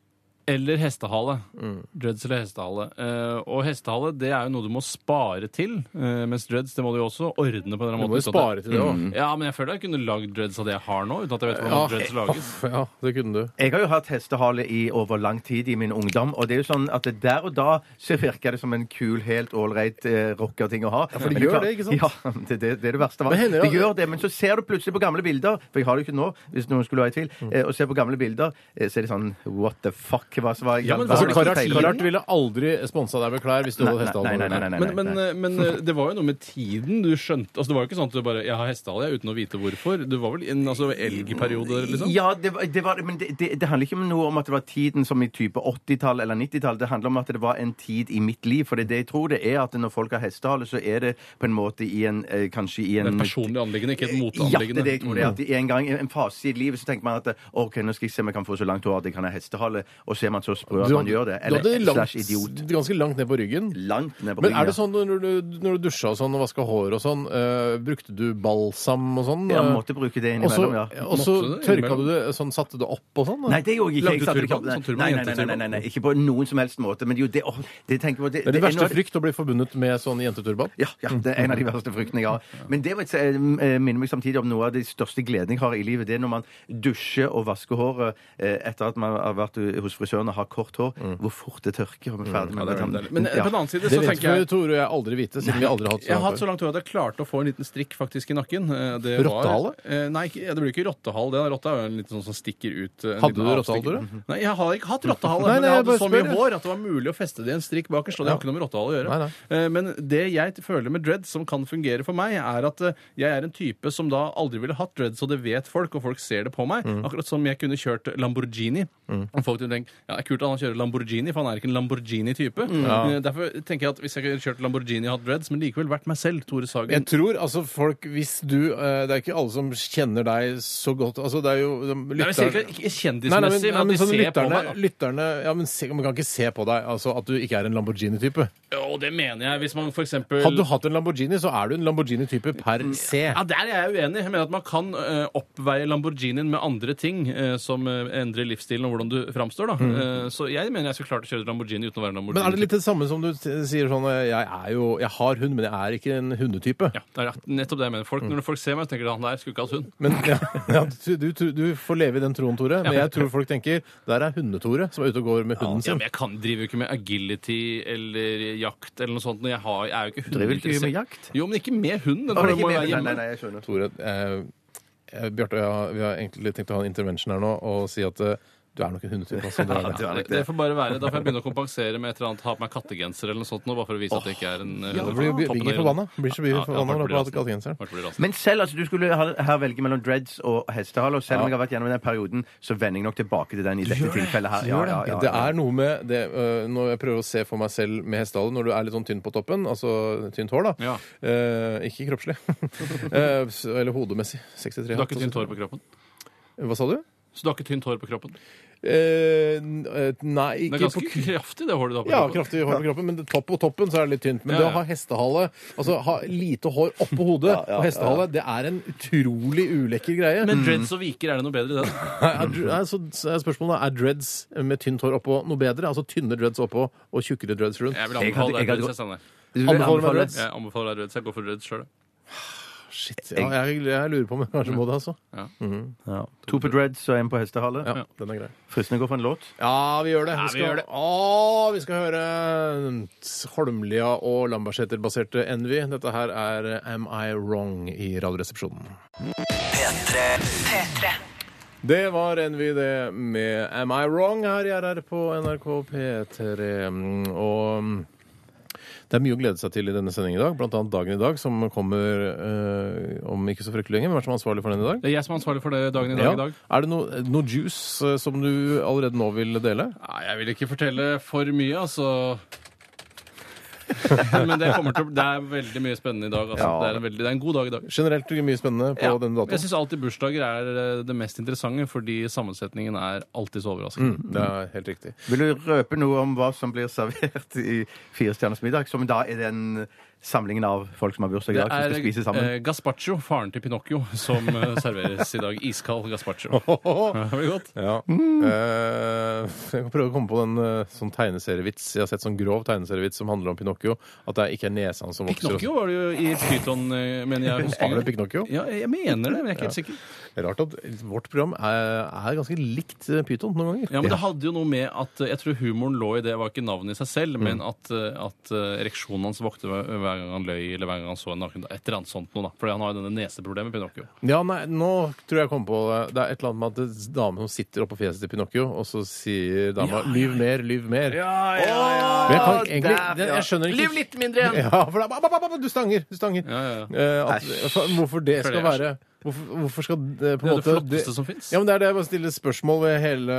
eller hestehale. Mm. Dreads eller hestehale. Eh, og hestehale det er jo noe du må spare til, eh, mens dreads det må du jo også ordne på en eller Du annen må måte. uten jo at spare til det Mm. òg. det- Ja, men jeg føler jeg kunne lagd dreads av det jeg har nå, uten at jeg vet hvordan dreads lages. ja, det kunne du. Jeg har jo hatt hestehale i over lang tid i min ungdom, og det er jo sånn at det der og da så virker det som en kul, helt ålreit eh, rockerting å ha. Ja, for de gjør det, ikke sant? Ja, det, det, det er det verste av Men alt. hender De det- gjør det, men så ser du plutselig på gamle bilder, for jeg har det jo ikke nå, hvis noen skulle være i tvil, eh, og ser på gamle bilder, eh, så er det sånn What the fuck? Hva som var i Ja, men hva hva var er Altså, det som Karart, feilet? Karart ville aldri sponsa deg med klær hvis du Nei, hadde nei, hestehale. nei, nei, nei, nei, Men, nei. men, eh, men eh, det var jo noe med tiden. Du skjønte, altså Det var jo ikke sånn at du bare Jeg har hestehale, jeg, uten å vite hvorfor. Du var vel i en altså, elgperiode, liksom? Ja, det var, det var, men det, det, det handler ikke om noe om at det var tiden som i type 80-tall eller 90-tall. Det handler om at det var en tid i mitt liv. For det, er det jeg tror det er at når folk har hestehale, så er det på en måte i en eh, Kanskje i Det er en et personlig anliggende, ikke et Mm. ja, det er moteanliggende. det jeg tror det er. At i en gang, i en fase i livet så tenker man at OK, nå skal jeg se om jeg kan få så langt hår at jeg kan ha hestehale, og så er man så sprø at man gjør det. du hadde Eller langt, slash idiot. ganske langt ned på ryggen. Langt ned på Men ryggen. er det sånn når du, når du dusja og sånn og vaska hår og sånn, eh, brukte du balsam og sånn? ja. eh, Jeg måtte bruke det og så- innimellom, ja. Og så Måtte du det tørka innimellom? du det, sånn satte du det opp og sånn? da? Nei, det gjorde jeg ikke. Lagde Jeg satte det turban? ikke opp. Sånn turban, nei, nei, nei, nei, nei, nei, nei, ikke på noen som helst måte. Men jo, det, åh, det tenker jeg på. Det er din noe verste av det- frykt å bli forbundet med sånn jenteturban? Ja, ja, det er en av de verste fryktene jeg har. Men det må jeg si, eh, minner meg samtidig om noe av de største gledene jeg har i livet. Det er når man dusjer og vasker håret eh, etter at man har vært hos frisøren og har kort hår. Hvor fort det tørker. Og man er ferdig med det. Men eh, på den annen side Det så vet tenker jeg vi, Tore og jeg aldri vite, siden vi aldri har hatt Jeg har sånn hatt så langt hår at jeg klarte å få en liten strikk faktisk i nakken. Eh, Det var- Rottehale? Eh, Nei, ikke- det blir ikke rottehale. Det er rotte er jo en liten sånn som stikker ut. eh, en liten Hadde du avstikker. rottehale, Tore? Nei, jeg har ikke hatt rottehale. Nei, men nei, jeg hadde jeg så bare mye spør, jeg. hår at det var mulig å feste det i en strikk bakerst. Og det har Ja. ikke noe med rottehale å gjøre. Nei, Eh, Men det jeg føler med dreads som kan fungere for meg, er at eh, jeg er en type som da aldri ville hatt dreads, og det vet folk, og folk ser det på meg. Akkurat som jeg kunne kjørt Lamborghini. Og folk ville tenkt ja, det er kult at han kjører Lamborghini, for han er ikke en Lamborghini-type. Eh, Derfor tenker jeg at hvis jeg kunne kjørt Lamborghini og hatt dreads, men likevel vært meg selv, Tore Sagen Jeg tror altså folk Hvis du eh, Det er ikke alle som kjenner deg så godt. Altså, det er jo de Det er vel lytter- sikkert ikke Nei, nei, kjendismessig, men, nei, men, at men de sånn ser på lytterne, meg. da. lytterne ja, men se, Man kan ikke se på deg altså, at du ikke er en Lamborghini-type. Og det mener jeg, hvis man for eksempel Hadde du hatt en Lamborghini, så er du en Lamborghini-type per se. Ja, Der er jeg uenig. Jeg mener at Man kan eh, oppveie Lamborghinien med andre ting eh, som eh, endrer livsstilen og hvordan du framstår. da. Eh, så jeg mener jeg skulle klart å kjøre Lamborghini uten å være en Lamborghini. Mm. Men er det litt det samme som du t- sier sånn eh, Jeg, er jo, jeg har hund, men jeg er ikke en hundetype. Ja, det er nettopp det jeg mener. Folk, Mm. Når folk ser meg, så tenker de at han der skulle ikke hatt hund. Men, ja, ja, du, du, tror- du får leve i den troen, Tore. Men Ja. jeg tror folk tenker der er Hunde-Tore som er ute og går med hunden Ja, sin. men Jeg kan, driver jo ikke med agility eller jakt eller noe sånt. når Jeg, har, jeg er jo ikke hund. Driver ikke du med jakt? Jo, men ikke med hund. Den Å, det er må ikke jo mer- være Nei, hjemme. nei, nei, jeg skjønner. Tore, eh, eh, Bjarte og jeg har- vi har egentlig tenkt å ha en intervention her nå og si at eh, du er nok en hundetype. Altså, du er det. Det, det får bare være. Da får jeg begynne å kompensere med et eller annet, ha på meg kattegenser eller noe sånt nå, bare for å vise at jeg ikke er en eh, Ja, hund. det blir jo Toppen av bingi hunden. forbanna. Blir så mye Ja, ja, forbanna folk når du blir har hatt rasende. kattegenseren. Folk blir rasende. Men selv, altså, du skulle ha- her velge mellom dreads og hestehale, og selv om jeg har vært gjennom den perioden, så vender jeg nok tilbake til den i dette tilfellet her. Ja, ja, ja, Det er noe med det øh, Når jeg prøver å se for meg selv med hestehale, når du er litt sånn tynn på toppen, altså tynt hår, da. Ja. Eh, ikke kroppslig. Eh, s- eller hodemessig. 63. Du har ikke tynt hår på kroppen? Hva sa du? Så du har ikke tynt hår på kroppen? Eh, n- eh, nei, Det ikke er ganske på k- kraftig, det håret du har på ja, kroppen. kraftig hår på kroppen, men det- topp på toppen så er det litt tynt. Men Ja, det ja. å ha hestehale, altså ha lite hår oppå hodet og hestehale, det er en utrolig ulekker greie. Men dreads og viker, er det noe bedre i det? Er, er, er, så, så er spørsmålet er dreads med tynt hår oppå noe bedre? Altså tynne dreads oppå og tjukkere dreads rundt? Jeg vil Jeg hadde- anbefale jeg deg hadde dreads. Jeg, Steinar. Du vil Anbefaler meg anbefale- dreads? jeg anbefaler deg dreads. Jeg går for dreads sjøl. Shit, ja, jeg, jeg lurer på om jeg kanskje må det, altså. Ja. To på dreads og en på hestehale. Ja, den er grei. Fristende å gå for en låt. Ja, vi gjør det. Vi skal, gjør det. Å, vi skal høre mm, Holmlia og Lambertseter-baserte Envy. Dette her er Am I Wrong i Radioresepsjonen. P3. Det var Envy, det, med Am I Wrong her i RR på NRK P3. Og mm, det er mye å glede seg til i denne sendingen i dag, blant annet dagen i dag, som kommer eh, om ikke så fryktelig lenge. Hvem er det som er ansvarlig for den i dag? Det er jeg som er ansvarlig for det dagen i dag. Ja. I dag. Er det noe, noe juice eh, som du allerede nå vil dele? Nei, jeg vil ikke fortelle for mye, altså. Men det, kommer til, å- det er veldig mye spennende i dag. Altså. Ja. Det, er en veldig, det er en god dag i dag. Generelt mye spennende på Ja. denne Jeg datoen. syns alltid bursdager er eh, det mest interessante, fordi sammensetningen er alltid så overraskende. Det er helt riktig. Vil du røpe noe om hva som blir servert i Fire stjerners middag, som da er den samlingen av folk som har bursdag i Det dag, som er skal spise sammen? eh, gazpacho, faren til Pinocchio, som eh, serveres i dag. Iskald gazpacho. Det blir godt. Ja. Eh, jeg kan prøve å komme på en eh, sånn tegneserievits. Jeg har sett sånn grov tegneserievits som handler om Pinocchio. At det ikke er nesa hans som vokser. og- Pinocchio var det jo i Pyton, eh, mener jeg. Var det husker. Pinocchio? Ja, jeg mener det, men jeg er ikke helt sikker. Rart at vårt program er, er ganske likt eh, Pyton noen ganger. Ja, men det hadde jo noe med at eh, Jeg tror humoren lå i det, var ikke navnet i seg Mm. selv, men at, eh, at eh, ereksjonen hans vokte hver hver gang han løy, eller hver gang han så en naken. Et eller annet sånt noe, da. Fordi han har jo denne neseproblemet, Pinocchio. Ja, nei, nå tror jeg jeg kom på det. Det er et eller annet med at det er damen som sitter oppå fjeset til Pinocchio, og så sier dama 'lyv mer, lyv mer'. Men jeg, kan, egentlig, det, jeg skjønner ikke litt mindre igjen! Ja, for det er, ba, ba, ba, ba, du stanger! Du stanger. Ja, ja, Eh, at, for, hvorfor det skal Føler jeg være Hvorfor, hvorfor skal det Det på en er det måte flotteste som fins. Ja, men det er det jeg bare stiller spørsmål ved hele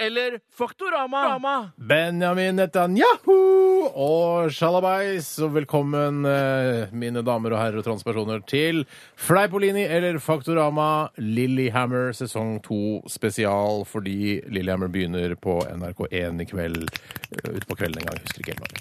eller Faktorama? Benjamin Netanyahu og Shalabais, og velkommen, eh, mine damer og herrer og transpersoner, til Fleipolini eller Faktorama Lillehammer sesong 2 spesial, fordi Lillehammer begynner på NRK1 i kveld, eh, ut på kvelden en gang, jeg husker ikke helt når.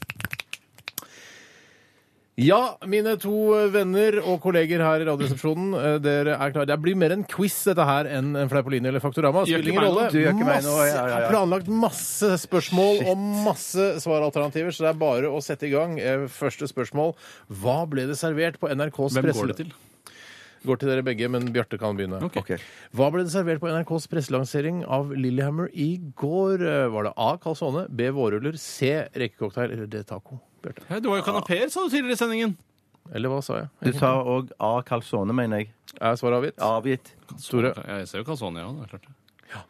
Ja, mine to venner og kolleger her i Radioresepsjonen. eh, Dere er klare. Det blir mer en quiz dette her enn en Fleipolini eller Faktorama. Gjør Spiller ikke ingen meg rolle. noe. Du gjør ikke meg noe, Masse- ja, ja, Jeg har ja. planlagt masse spørsmål og masse svaralternativer, så det er bare å sette i gang. Eh, Første spørsmål. Hva ble det servert på NRKs Hvem presse... går det til? Går til dere begge, men Bjarte kan begynne. Ok. Ok. Hva ble det servert på NRKs presselansering av Lillehammer i går? Eh, Var det A. Calzone, B. Vårruller, C. Rekecocktail eller D. Taco? Bjarte. Hei, det var jo kanapeer, sa du tidligere i sendingen. Eller hva sa jeg? Du sa òg A. Calzone, mener jeg. Er svaret avgitt? Avgitt. Store. Jeg ser jo calzone, ja. Det er klart.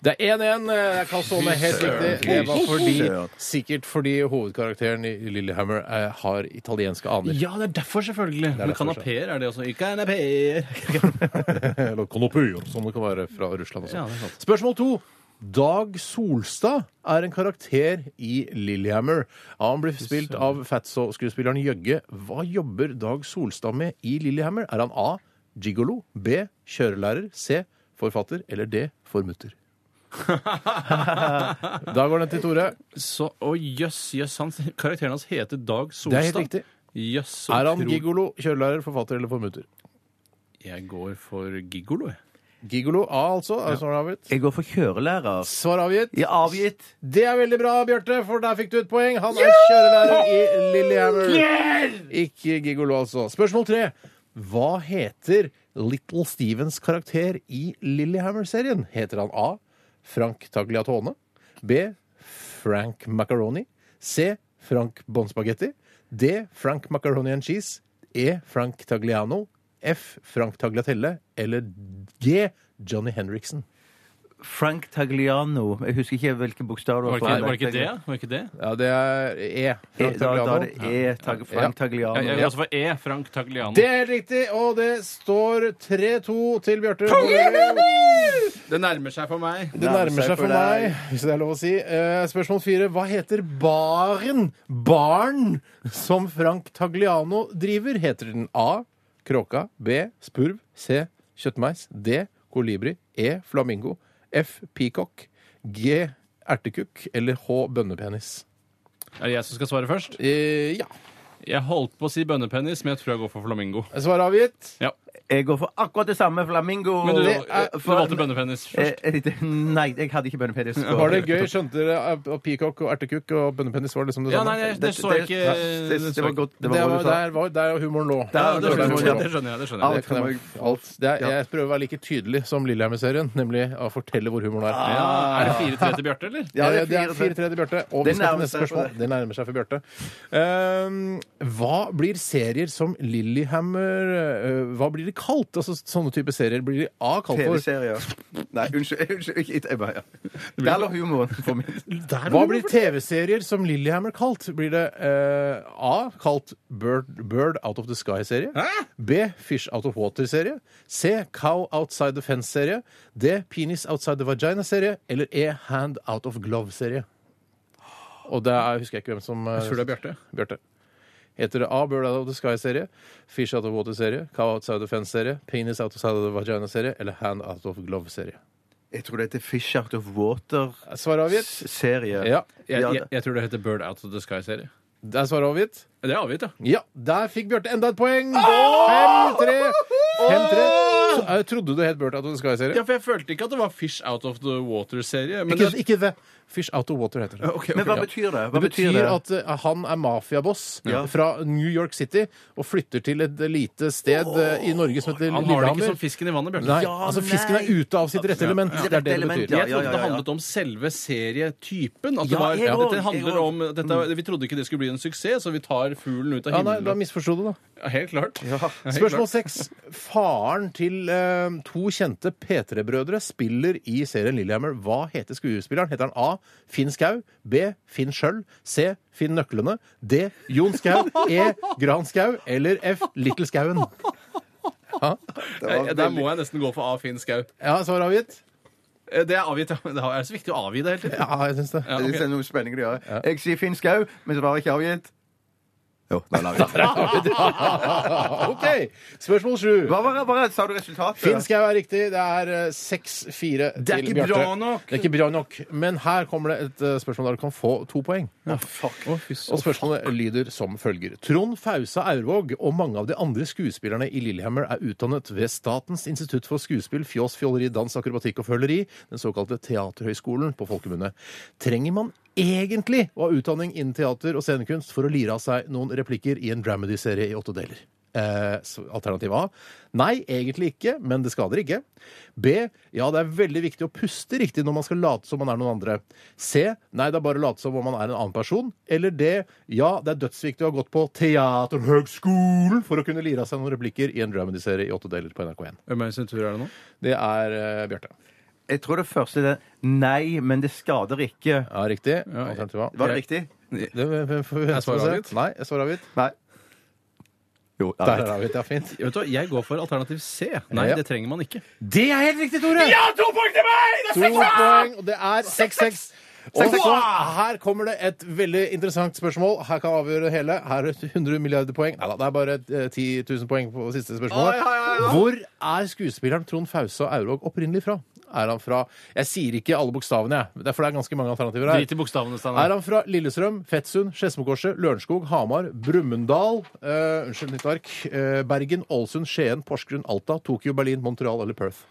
det. Det er 1-1. Det er Calzone helt riktig. Det var fordi, søren. sikkert fordi hovedkarakteren i Lillehammer eh, har italienske aner. Ja, det er derfor, selvfølgelig. er Men derfor, kanapeer er det også. Ikke kanapeer. Eller Konopyo, som det kan være fra Russland Ja, også. det er sant. Spørsmål to. Dag Solstad er en karakter i Lillehammer. Han blir spilt av Fatso-skuespilleren Jøgge. Hva jobber Dag Solstad med i Lillehammer? Er han A. Gigolo, B. Kjørelærer, C. Forfatter eller D. Formutter? da går den til Tore. Så, å jøss, jøss. han- Karakteren hans heter Dag Solstad. Det er helt riktig. Jøss, så Er han tror- gigolo, kjørelærer, forfatter eller formutter? Jeg går for gigolo, jeg. Gigolo A, altså. Er svaret avgitt? Jeg går for kjørelærer. Svar avgitt. Ja, avgitt. Det er veldig bra, Bjarte, for der fikk du et poeng. Han er kjørelærer i Lillehammer. Ikke gigolo, altså. Spørsmål tre. Hva heter Little Stevens karakter i Lillehammer-serien? Heter han A. Frank Tagliatone? B. Frank Macaroni? C. Frank Bonspagetti? D. Frank Macaroni and Cheese? E. Frank Tagliano? F. Frank Tagliatelle? Eller G. Johnny Henriksen? Frank Tagliano. Jeg husker ikke hvilken bokstav det Var var. det ikke, var det, ikke det? Var det ikke det? Ja, det er E. Da, Frank da er Tagliano. det E. Tag, Frank Tagliano. Jeg, jeg går også for E. Frank Tagliano. Det er helt riktig, og det står 3-2 til Bjarte. Det Det nærmer seg for meg. nærmer seg for meg, hvis det er lov å si. Eh, Spørsmål fire. Hva heter baren, barn, som Frank Tagliano driver? Heter den A. Kråka. B. Spurv. C. Kjøttmeis. D. Kolibri. E. Flamingo. F. Peacock. G. Ertekukk. Eller H. Bønnepenis. Er det jeg som skal svare først? Eh, ja. Jeg holdt på å si bønnepennis, men jeg tror jeg går for flamingo. Svar avgitt. Ja. Jeg går for akkurat det samme. Flamingo. Men du, Det du er- for- valgte bønnepennis først. Eh, eh, det- Nei, jeg hadde ikke bønnepenis. Var det gøy? Skjønte dere at at peacock og ertekukk og bønnepennis var liksom det Ja, samme? nei, nei, det så jeg ikke. Det, det, det var godt. Det Det var var, godt du sa. der, var, der er humoren lå. Der Ja, var det skjønner godt jeg. Det du sa. skjønner jeg. Det skjønner jeg. Det kan jeg, alt, det er, jeg prøver å være like tydelig som Lillehammer-serien, nemlig å fortelle hvor humoren er. Ja, er det 4-3 til Bjarte, eller? Ja, Eh, det det er er 4-3 til Bjarte. Og vi Det skal til nærmer neste seg for spørsmål. deg. Det nærmer seg for Bjarte. Ehm, hva blir serier som Lillehammer eh, Hva blir de kalt? Altså sånne type serier blir de A kalt for. TV-serier. Nei, unnskyld. unnskyld ikke- ikke- jeg bare, ja. Der lå humoren for min. Hva blir TV-serier som Lillehammer kalt? Blir det eh, A kalt Bird, Bird Out of the Sky-serie? B Fish Out of Water-serie? C Cow Outside the Fence-serie? D Penis Outside the Vagina-serie? Eller E Hand Out of Glove-serie? Og det er, husker jeg ikke hvem som eh, Jeg tror det er Bjarte. Bjarte. Heter det A. Bird Out of the Sky-serie, Fish Out of Water-serie, Cow Outside the Fence-serie, Penis Outside the Vagina-serie eller Hand Out of Glove-serie? Jeg tror det heter Fish Out of Water-serie. Svar avgitt? Ja. Jeg, Ja, jeg, det- jeg tror det heter Bird Out of the Sky-serie. Det er svaret avgitt? Det er avgitt, ja. Ja, der fikk Bjarte enda et poeng! 5-3. 5-3. Så, eh, Trodde du helt Bjarte at du skal i Ja, serie? for jeg følte ikke at det var Fish Out of the Water-serie. Men Ikke, det, ikke The Fish Out of Water heter det. Men hva betyr det? Hva Det betyr at eh, han er mafiaboss fra New York City og flytter til et lite sted eh, i Norge som heter han har det ikke Lillehammer. som fisken i vannet, Bjarte. Nei, Ja, altså Fisken er nei. ute av sitt rette element. Det er det det element, betyr. ja. Jeg trodde det handlet om selve serietypen. At det Ja, var, jeg òg, dette handler jeg òg. om, dette, vi trodde ikke det skulle bli en suksess, så vi tar fuglen ut av Ja, nei, da himmelen. misforsto du, da. Ja, Helt klart. Spørsmål seks. Faren til eh, to kjente P3-brødre spiller i serien Lillehammer. Hva heter skuespilleren? Heter han A. Finn Skau? B. Finn Schjøll? C. Finn Nøklene? D. Jon Skau? E. Gran Skau? Eller F. Little Skauen? Jeg, der må jeg nesten gå for A. Finn Skau. Ja, svar avgitt? Eh, Det er avgitt, ja. Det er så viktig å avgi det hele tiden. Ja, jeg syns det. ok. Det er sånn noe spennende å gjøre. Jeg sier Finn Skau, men svaret er ikke avgitt. Jo, da la vi det. OK! Spørsmål sju. Hva var det, hva sa du resultatet? Finn Skau er riktig. Det er eh, 6-4 Det er til ikke Bjarte. bra nok. Det er ikke bra nok. Men her kommer det et eh, spørsmål der du kan få to poeng. Og spørsmålet lyder som følger. Trond Fausa Aurvåg og mange av de andre skuespillerne i Lillehammer er utdannet ved Statens institutt for skuespill, fjås, fjolleri, dans, akrobatikk og føleri, den såkalte Teaterhøgskolen på folkemunne. Trenger man egentlig å ha utdanning innen teater og scenekunst for å lire av seg noen replikker i en dramedy-serie i åtte deler? Eh, så alternativ A. Nei, egentlig ikke, men det skader ikke. B. Ja, det er veldig viktig å puste riktig når man skal late som man er noen andre. C. Nei, det er bare å late som om man er en annen person. Eller D. Ja, det er dødsviktig å ha gått på Teaterhøgskolen for å kunne lire av seg noen replikker i en dramedy-serie i åtte deler på NRK1. Hvem er det sin tur er det nå? Det er eh, Bjarte. Jeg tror det første er nei, men det skader ikke. Ja, riktig. Alternativ A. Var det riktig? Det, det, det, Er svaret avgitt? Nei, jeg svarer avgitt. Nei. Jo, Der er avgitt, ja, fint. Vet du hva, Jeg går for alternativ C. Nei, Ja. det trenger man ikke. Det er helt riktig, Tore! Ja, to poeng til meg! To poeng, og det er 6-6. Og så, her kommer det et veldig interessant spørsmål. Her kan avgjøre det hele. Her er 100 milliarder poeng. Neida, det er bare eh, 10 000 poeng på siste spørsmålet. Hvor er skuespilleren Trond Fause Aurvåg opprinnelig fra? Er han fra Jeg sier ikke alle bokstavene, jeg. Det er for det er ganske mange alternativer her. Drit i bokstavene, Er Steinar. han fra Lillestrøm, Fettsund, Skedsmokorset, Lørenskog, Hamar, Brumunddal eh, Unnskyld, nytt ark. eh, Bergen, Ålesund, Skien, Porsgrunn, Alta, Tokyo, Berlin, Montreal eller Perth?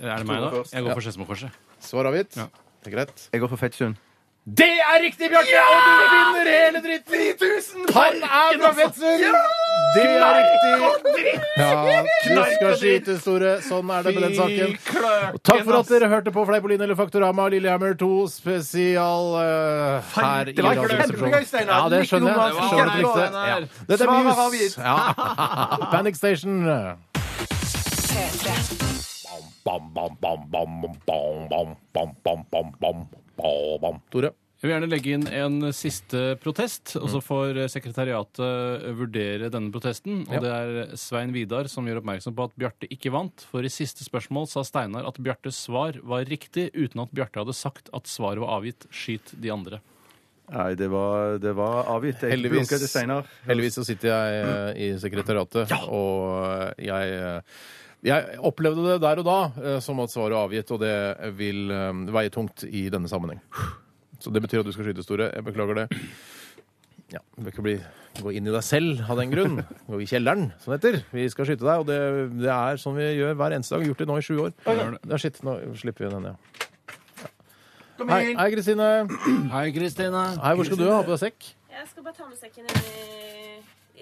Er det meg, da? Jeg går for Skedsmokorset. Svar avgitt? Det er greit. Jeg går for Fettsund. Det er riktig, Bjarte! Og du vinner hele dritten! Han er fra Fettsund! Det er riktig. Ja, du skal skyte, Store. Sånn er det med den saken. Og takk for at dere hørte på Fleipolin eller Faktorama Lillehammer 2 spesial eh, her i Det var Radioresepsjonen. kjempegøy, Steinar. Ja, det Likte skjønner nummer. jeg. Jeg Skjønner at du likte. det. Ja. Dette Svar er var Muse. avgitt. Ja. Panic Station. P3. Bam, bam, bam, bam, bam, bam, bam, bam, bam, bam, bam, bam. Tore? Jeg vil gjerne legge inn en siste protest, og så får sekretariatet vurdere denne protesten. Og Ja. det er Svein Vidar som gjør oppmerksom på at Bjarte ikke vant, for i siste spørsmål sa Steinar at Bjartes svar var riktig, uten at Bjarte hadde sagt at svaret var avgitt. Skyt de andre. Nei, det var, det var avgitt. Jeg Heldigvis, blunket til Steinar. heldigvis så sitter jeg eh, i sekretariatet, og jeg eh, jeg opplevde det der og da eh, som at svaret var avgitt, og det vil eh, veie tungt i denne sammenheng. Så det betyr at du skal skyte store. Jeg beklager det. Ja, Du bør ikke bli, gå inn i deg selv av den grunn. Gå i kjelleren, som det heter. Vi skal skyte deg, og det, det er sånn vi gjør hver eneste dag. Vi har Gjort det nå i sju år. Det er shit, nå slipper vi den, ja. Hei, hei Kristine. Hei, Kristine. Hei, hvor skal du ha på deg sekk? Jeg skal bare ta med sekken inn i,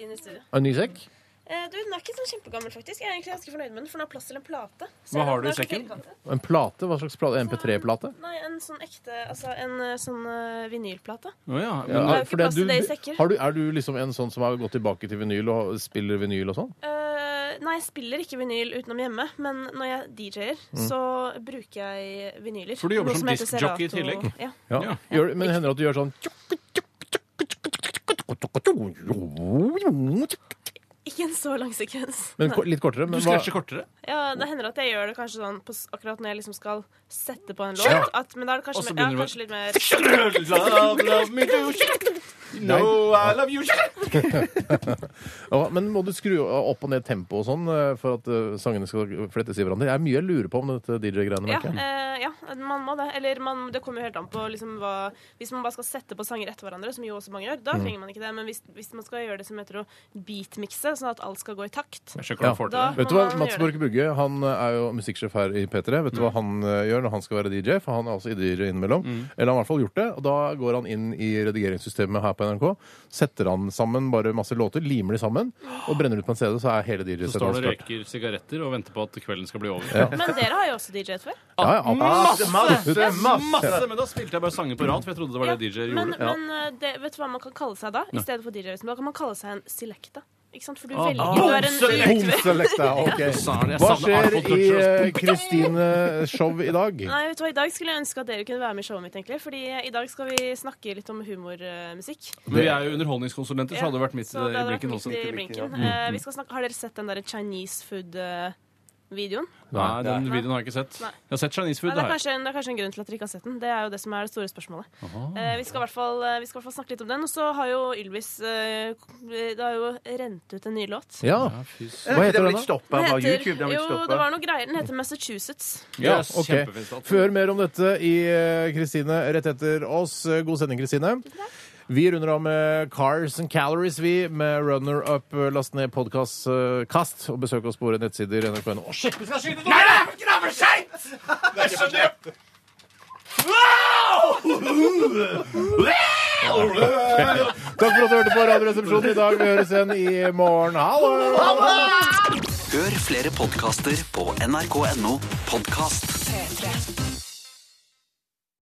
inn i studio. En ny sekk? Eh, du, Den er ikke sånn kjempegammel, faktisk. Jeg er egentlig ganske fornøyd med den, for den har plass til en plate. Hva har den du i er sekken? så firkantet. En plate? Hva slags plate? MP3-plate? Nei, en sånn ekte Altså en eh, sånn eh, vinylplate. Å ja. Ja, Men, det er jo ikke for det- plass til du- det i sekker. Har du, er du liksom en sånn som har gått tilbake til vinyl og spiller vinyl og sånn? Eh, nei, jeg spiller ikke vinyl utenom hjemme, men når jeg DJ-er, så bruker jeg vinyler. Mm. For du jobber Noe som heter diskjockey i Serato. tillegg. Ja. Ja. Ja. Gjør, men hender det at du gjør sånn Ikke en så lang sekvens. men, ko- Litt kortere. Men du hva, scratcher kortere. Ja, Det hender at jeg gjør det kanskje sånn på, s- akkurat når jeg liksom skal sette på en Ja. låt. At, men da er det Og så kanskje, begynner mer- du ja, med- kanskje litt mer ja, men må du skru opp og ned tempoet og sånn eh, for at eh, sangene skal flettes i hverandre? Jeg er mye jeg lurer på om dette DJ-greiene. Ja, merker jeg. eh, ja, man må det. Eller man, det kommer jo helt an på liksom, hva Hvis man bare skal sette på sanger etter hverandre, som jo også mange gjør, da trenger man ikke det. Men hvis, hvis man skal gjøre det som heter å beatmikse, sånn at alt skal gå i takt Jeg skjønner hvordan han Ja. får til Da- det. Vet du må hva, man Mats gjøre Borch Bugge han eh, er jo musikksjef her i P3. Vet du Mm. hva han eh, gjør når han skal være DJ? For han er også DJ innimellom. Eller han har i hvert fall gjort det. Og da går han inn i redigeringssystemet her på NRK. Setter han sammen bare masse låter, limer de sammen, og brenner ut på en CD, så er hele Så står DJ-settet han og klart. røyker sigaretter og venter på at kvelden skal bli over. Men dere har jo også DJ-et før. Ja, ja, absolutt. Masse, masse! Men da spilte jeg bare sanger på rad, for jeg trodde det var det DJ-er Men, gjorde. men eh, det, vet du hva man kan kalle seg da? I stedet for DJ, liksom, da kan man kalle seg en selecta. Ikke sant? For du velger du er en Boom, utve- selekta, ok. Sa det, jeg Hva savner skjer Arnold i Touchers. eh, Kristines show i dag? Nei, vet du hva, I dag skulle jeg ønske at dere kunne være med i showet mitt. egentlig Fordi i dag skal vi snakke litt om humormusikk. Men vi er jo underholdningskonsulenter, så hadde det vært midt Så det i hadde vært blinken Mm. midt også. i blinken. Eh, vi skal snakke, har dere sett den der Chinese food eh, videoen. Nei, den videoen har jeg ikke sett. Nei. Jeg har sett Chinese food. Nei, det, da er her. kanskje, det er kanskje en grunn til at dere ikke har sett den. Det er jo det som er det store spørsmålet. Eh, vi, skal i hvert fall, eh, vi skal i hvert fall snakke litt om den. Og så har jo Ylvis eh, Det har jo rent ut en ny låt. Ja. Hva Den heter har den, blitt da? stoppa av YouTube. Den har jo, blitt det stoppa. var noe greier. Den heter Massachusetts. Ja, Yes, ok. kjempefint stat. Før mer om dette i eh, Kristine rett etter oss. Eh, God sending, Kristine. Vi runder av med Cars and Calories, vi, med Runner Up. Eh, Last ned podkast Kast, og besøk oss på våre nettsider nrk.no. Å, shit! Takk for at du hørte på Radioresepsjonen i dag. Vi høres igjen i morgen. Hallo! Hør flere podkaster på nrk.no podkast. P3.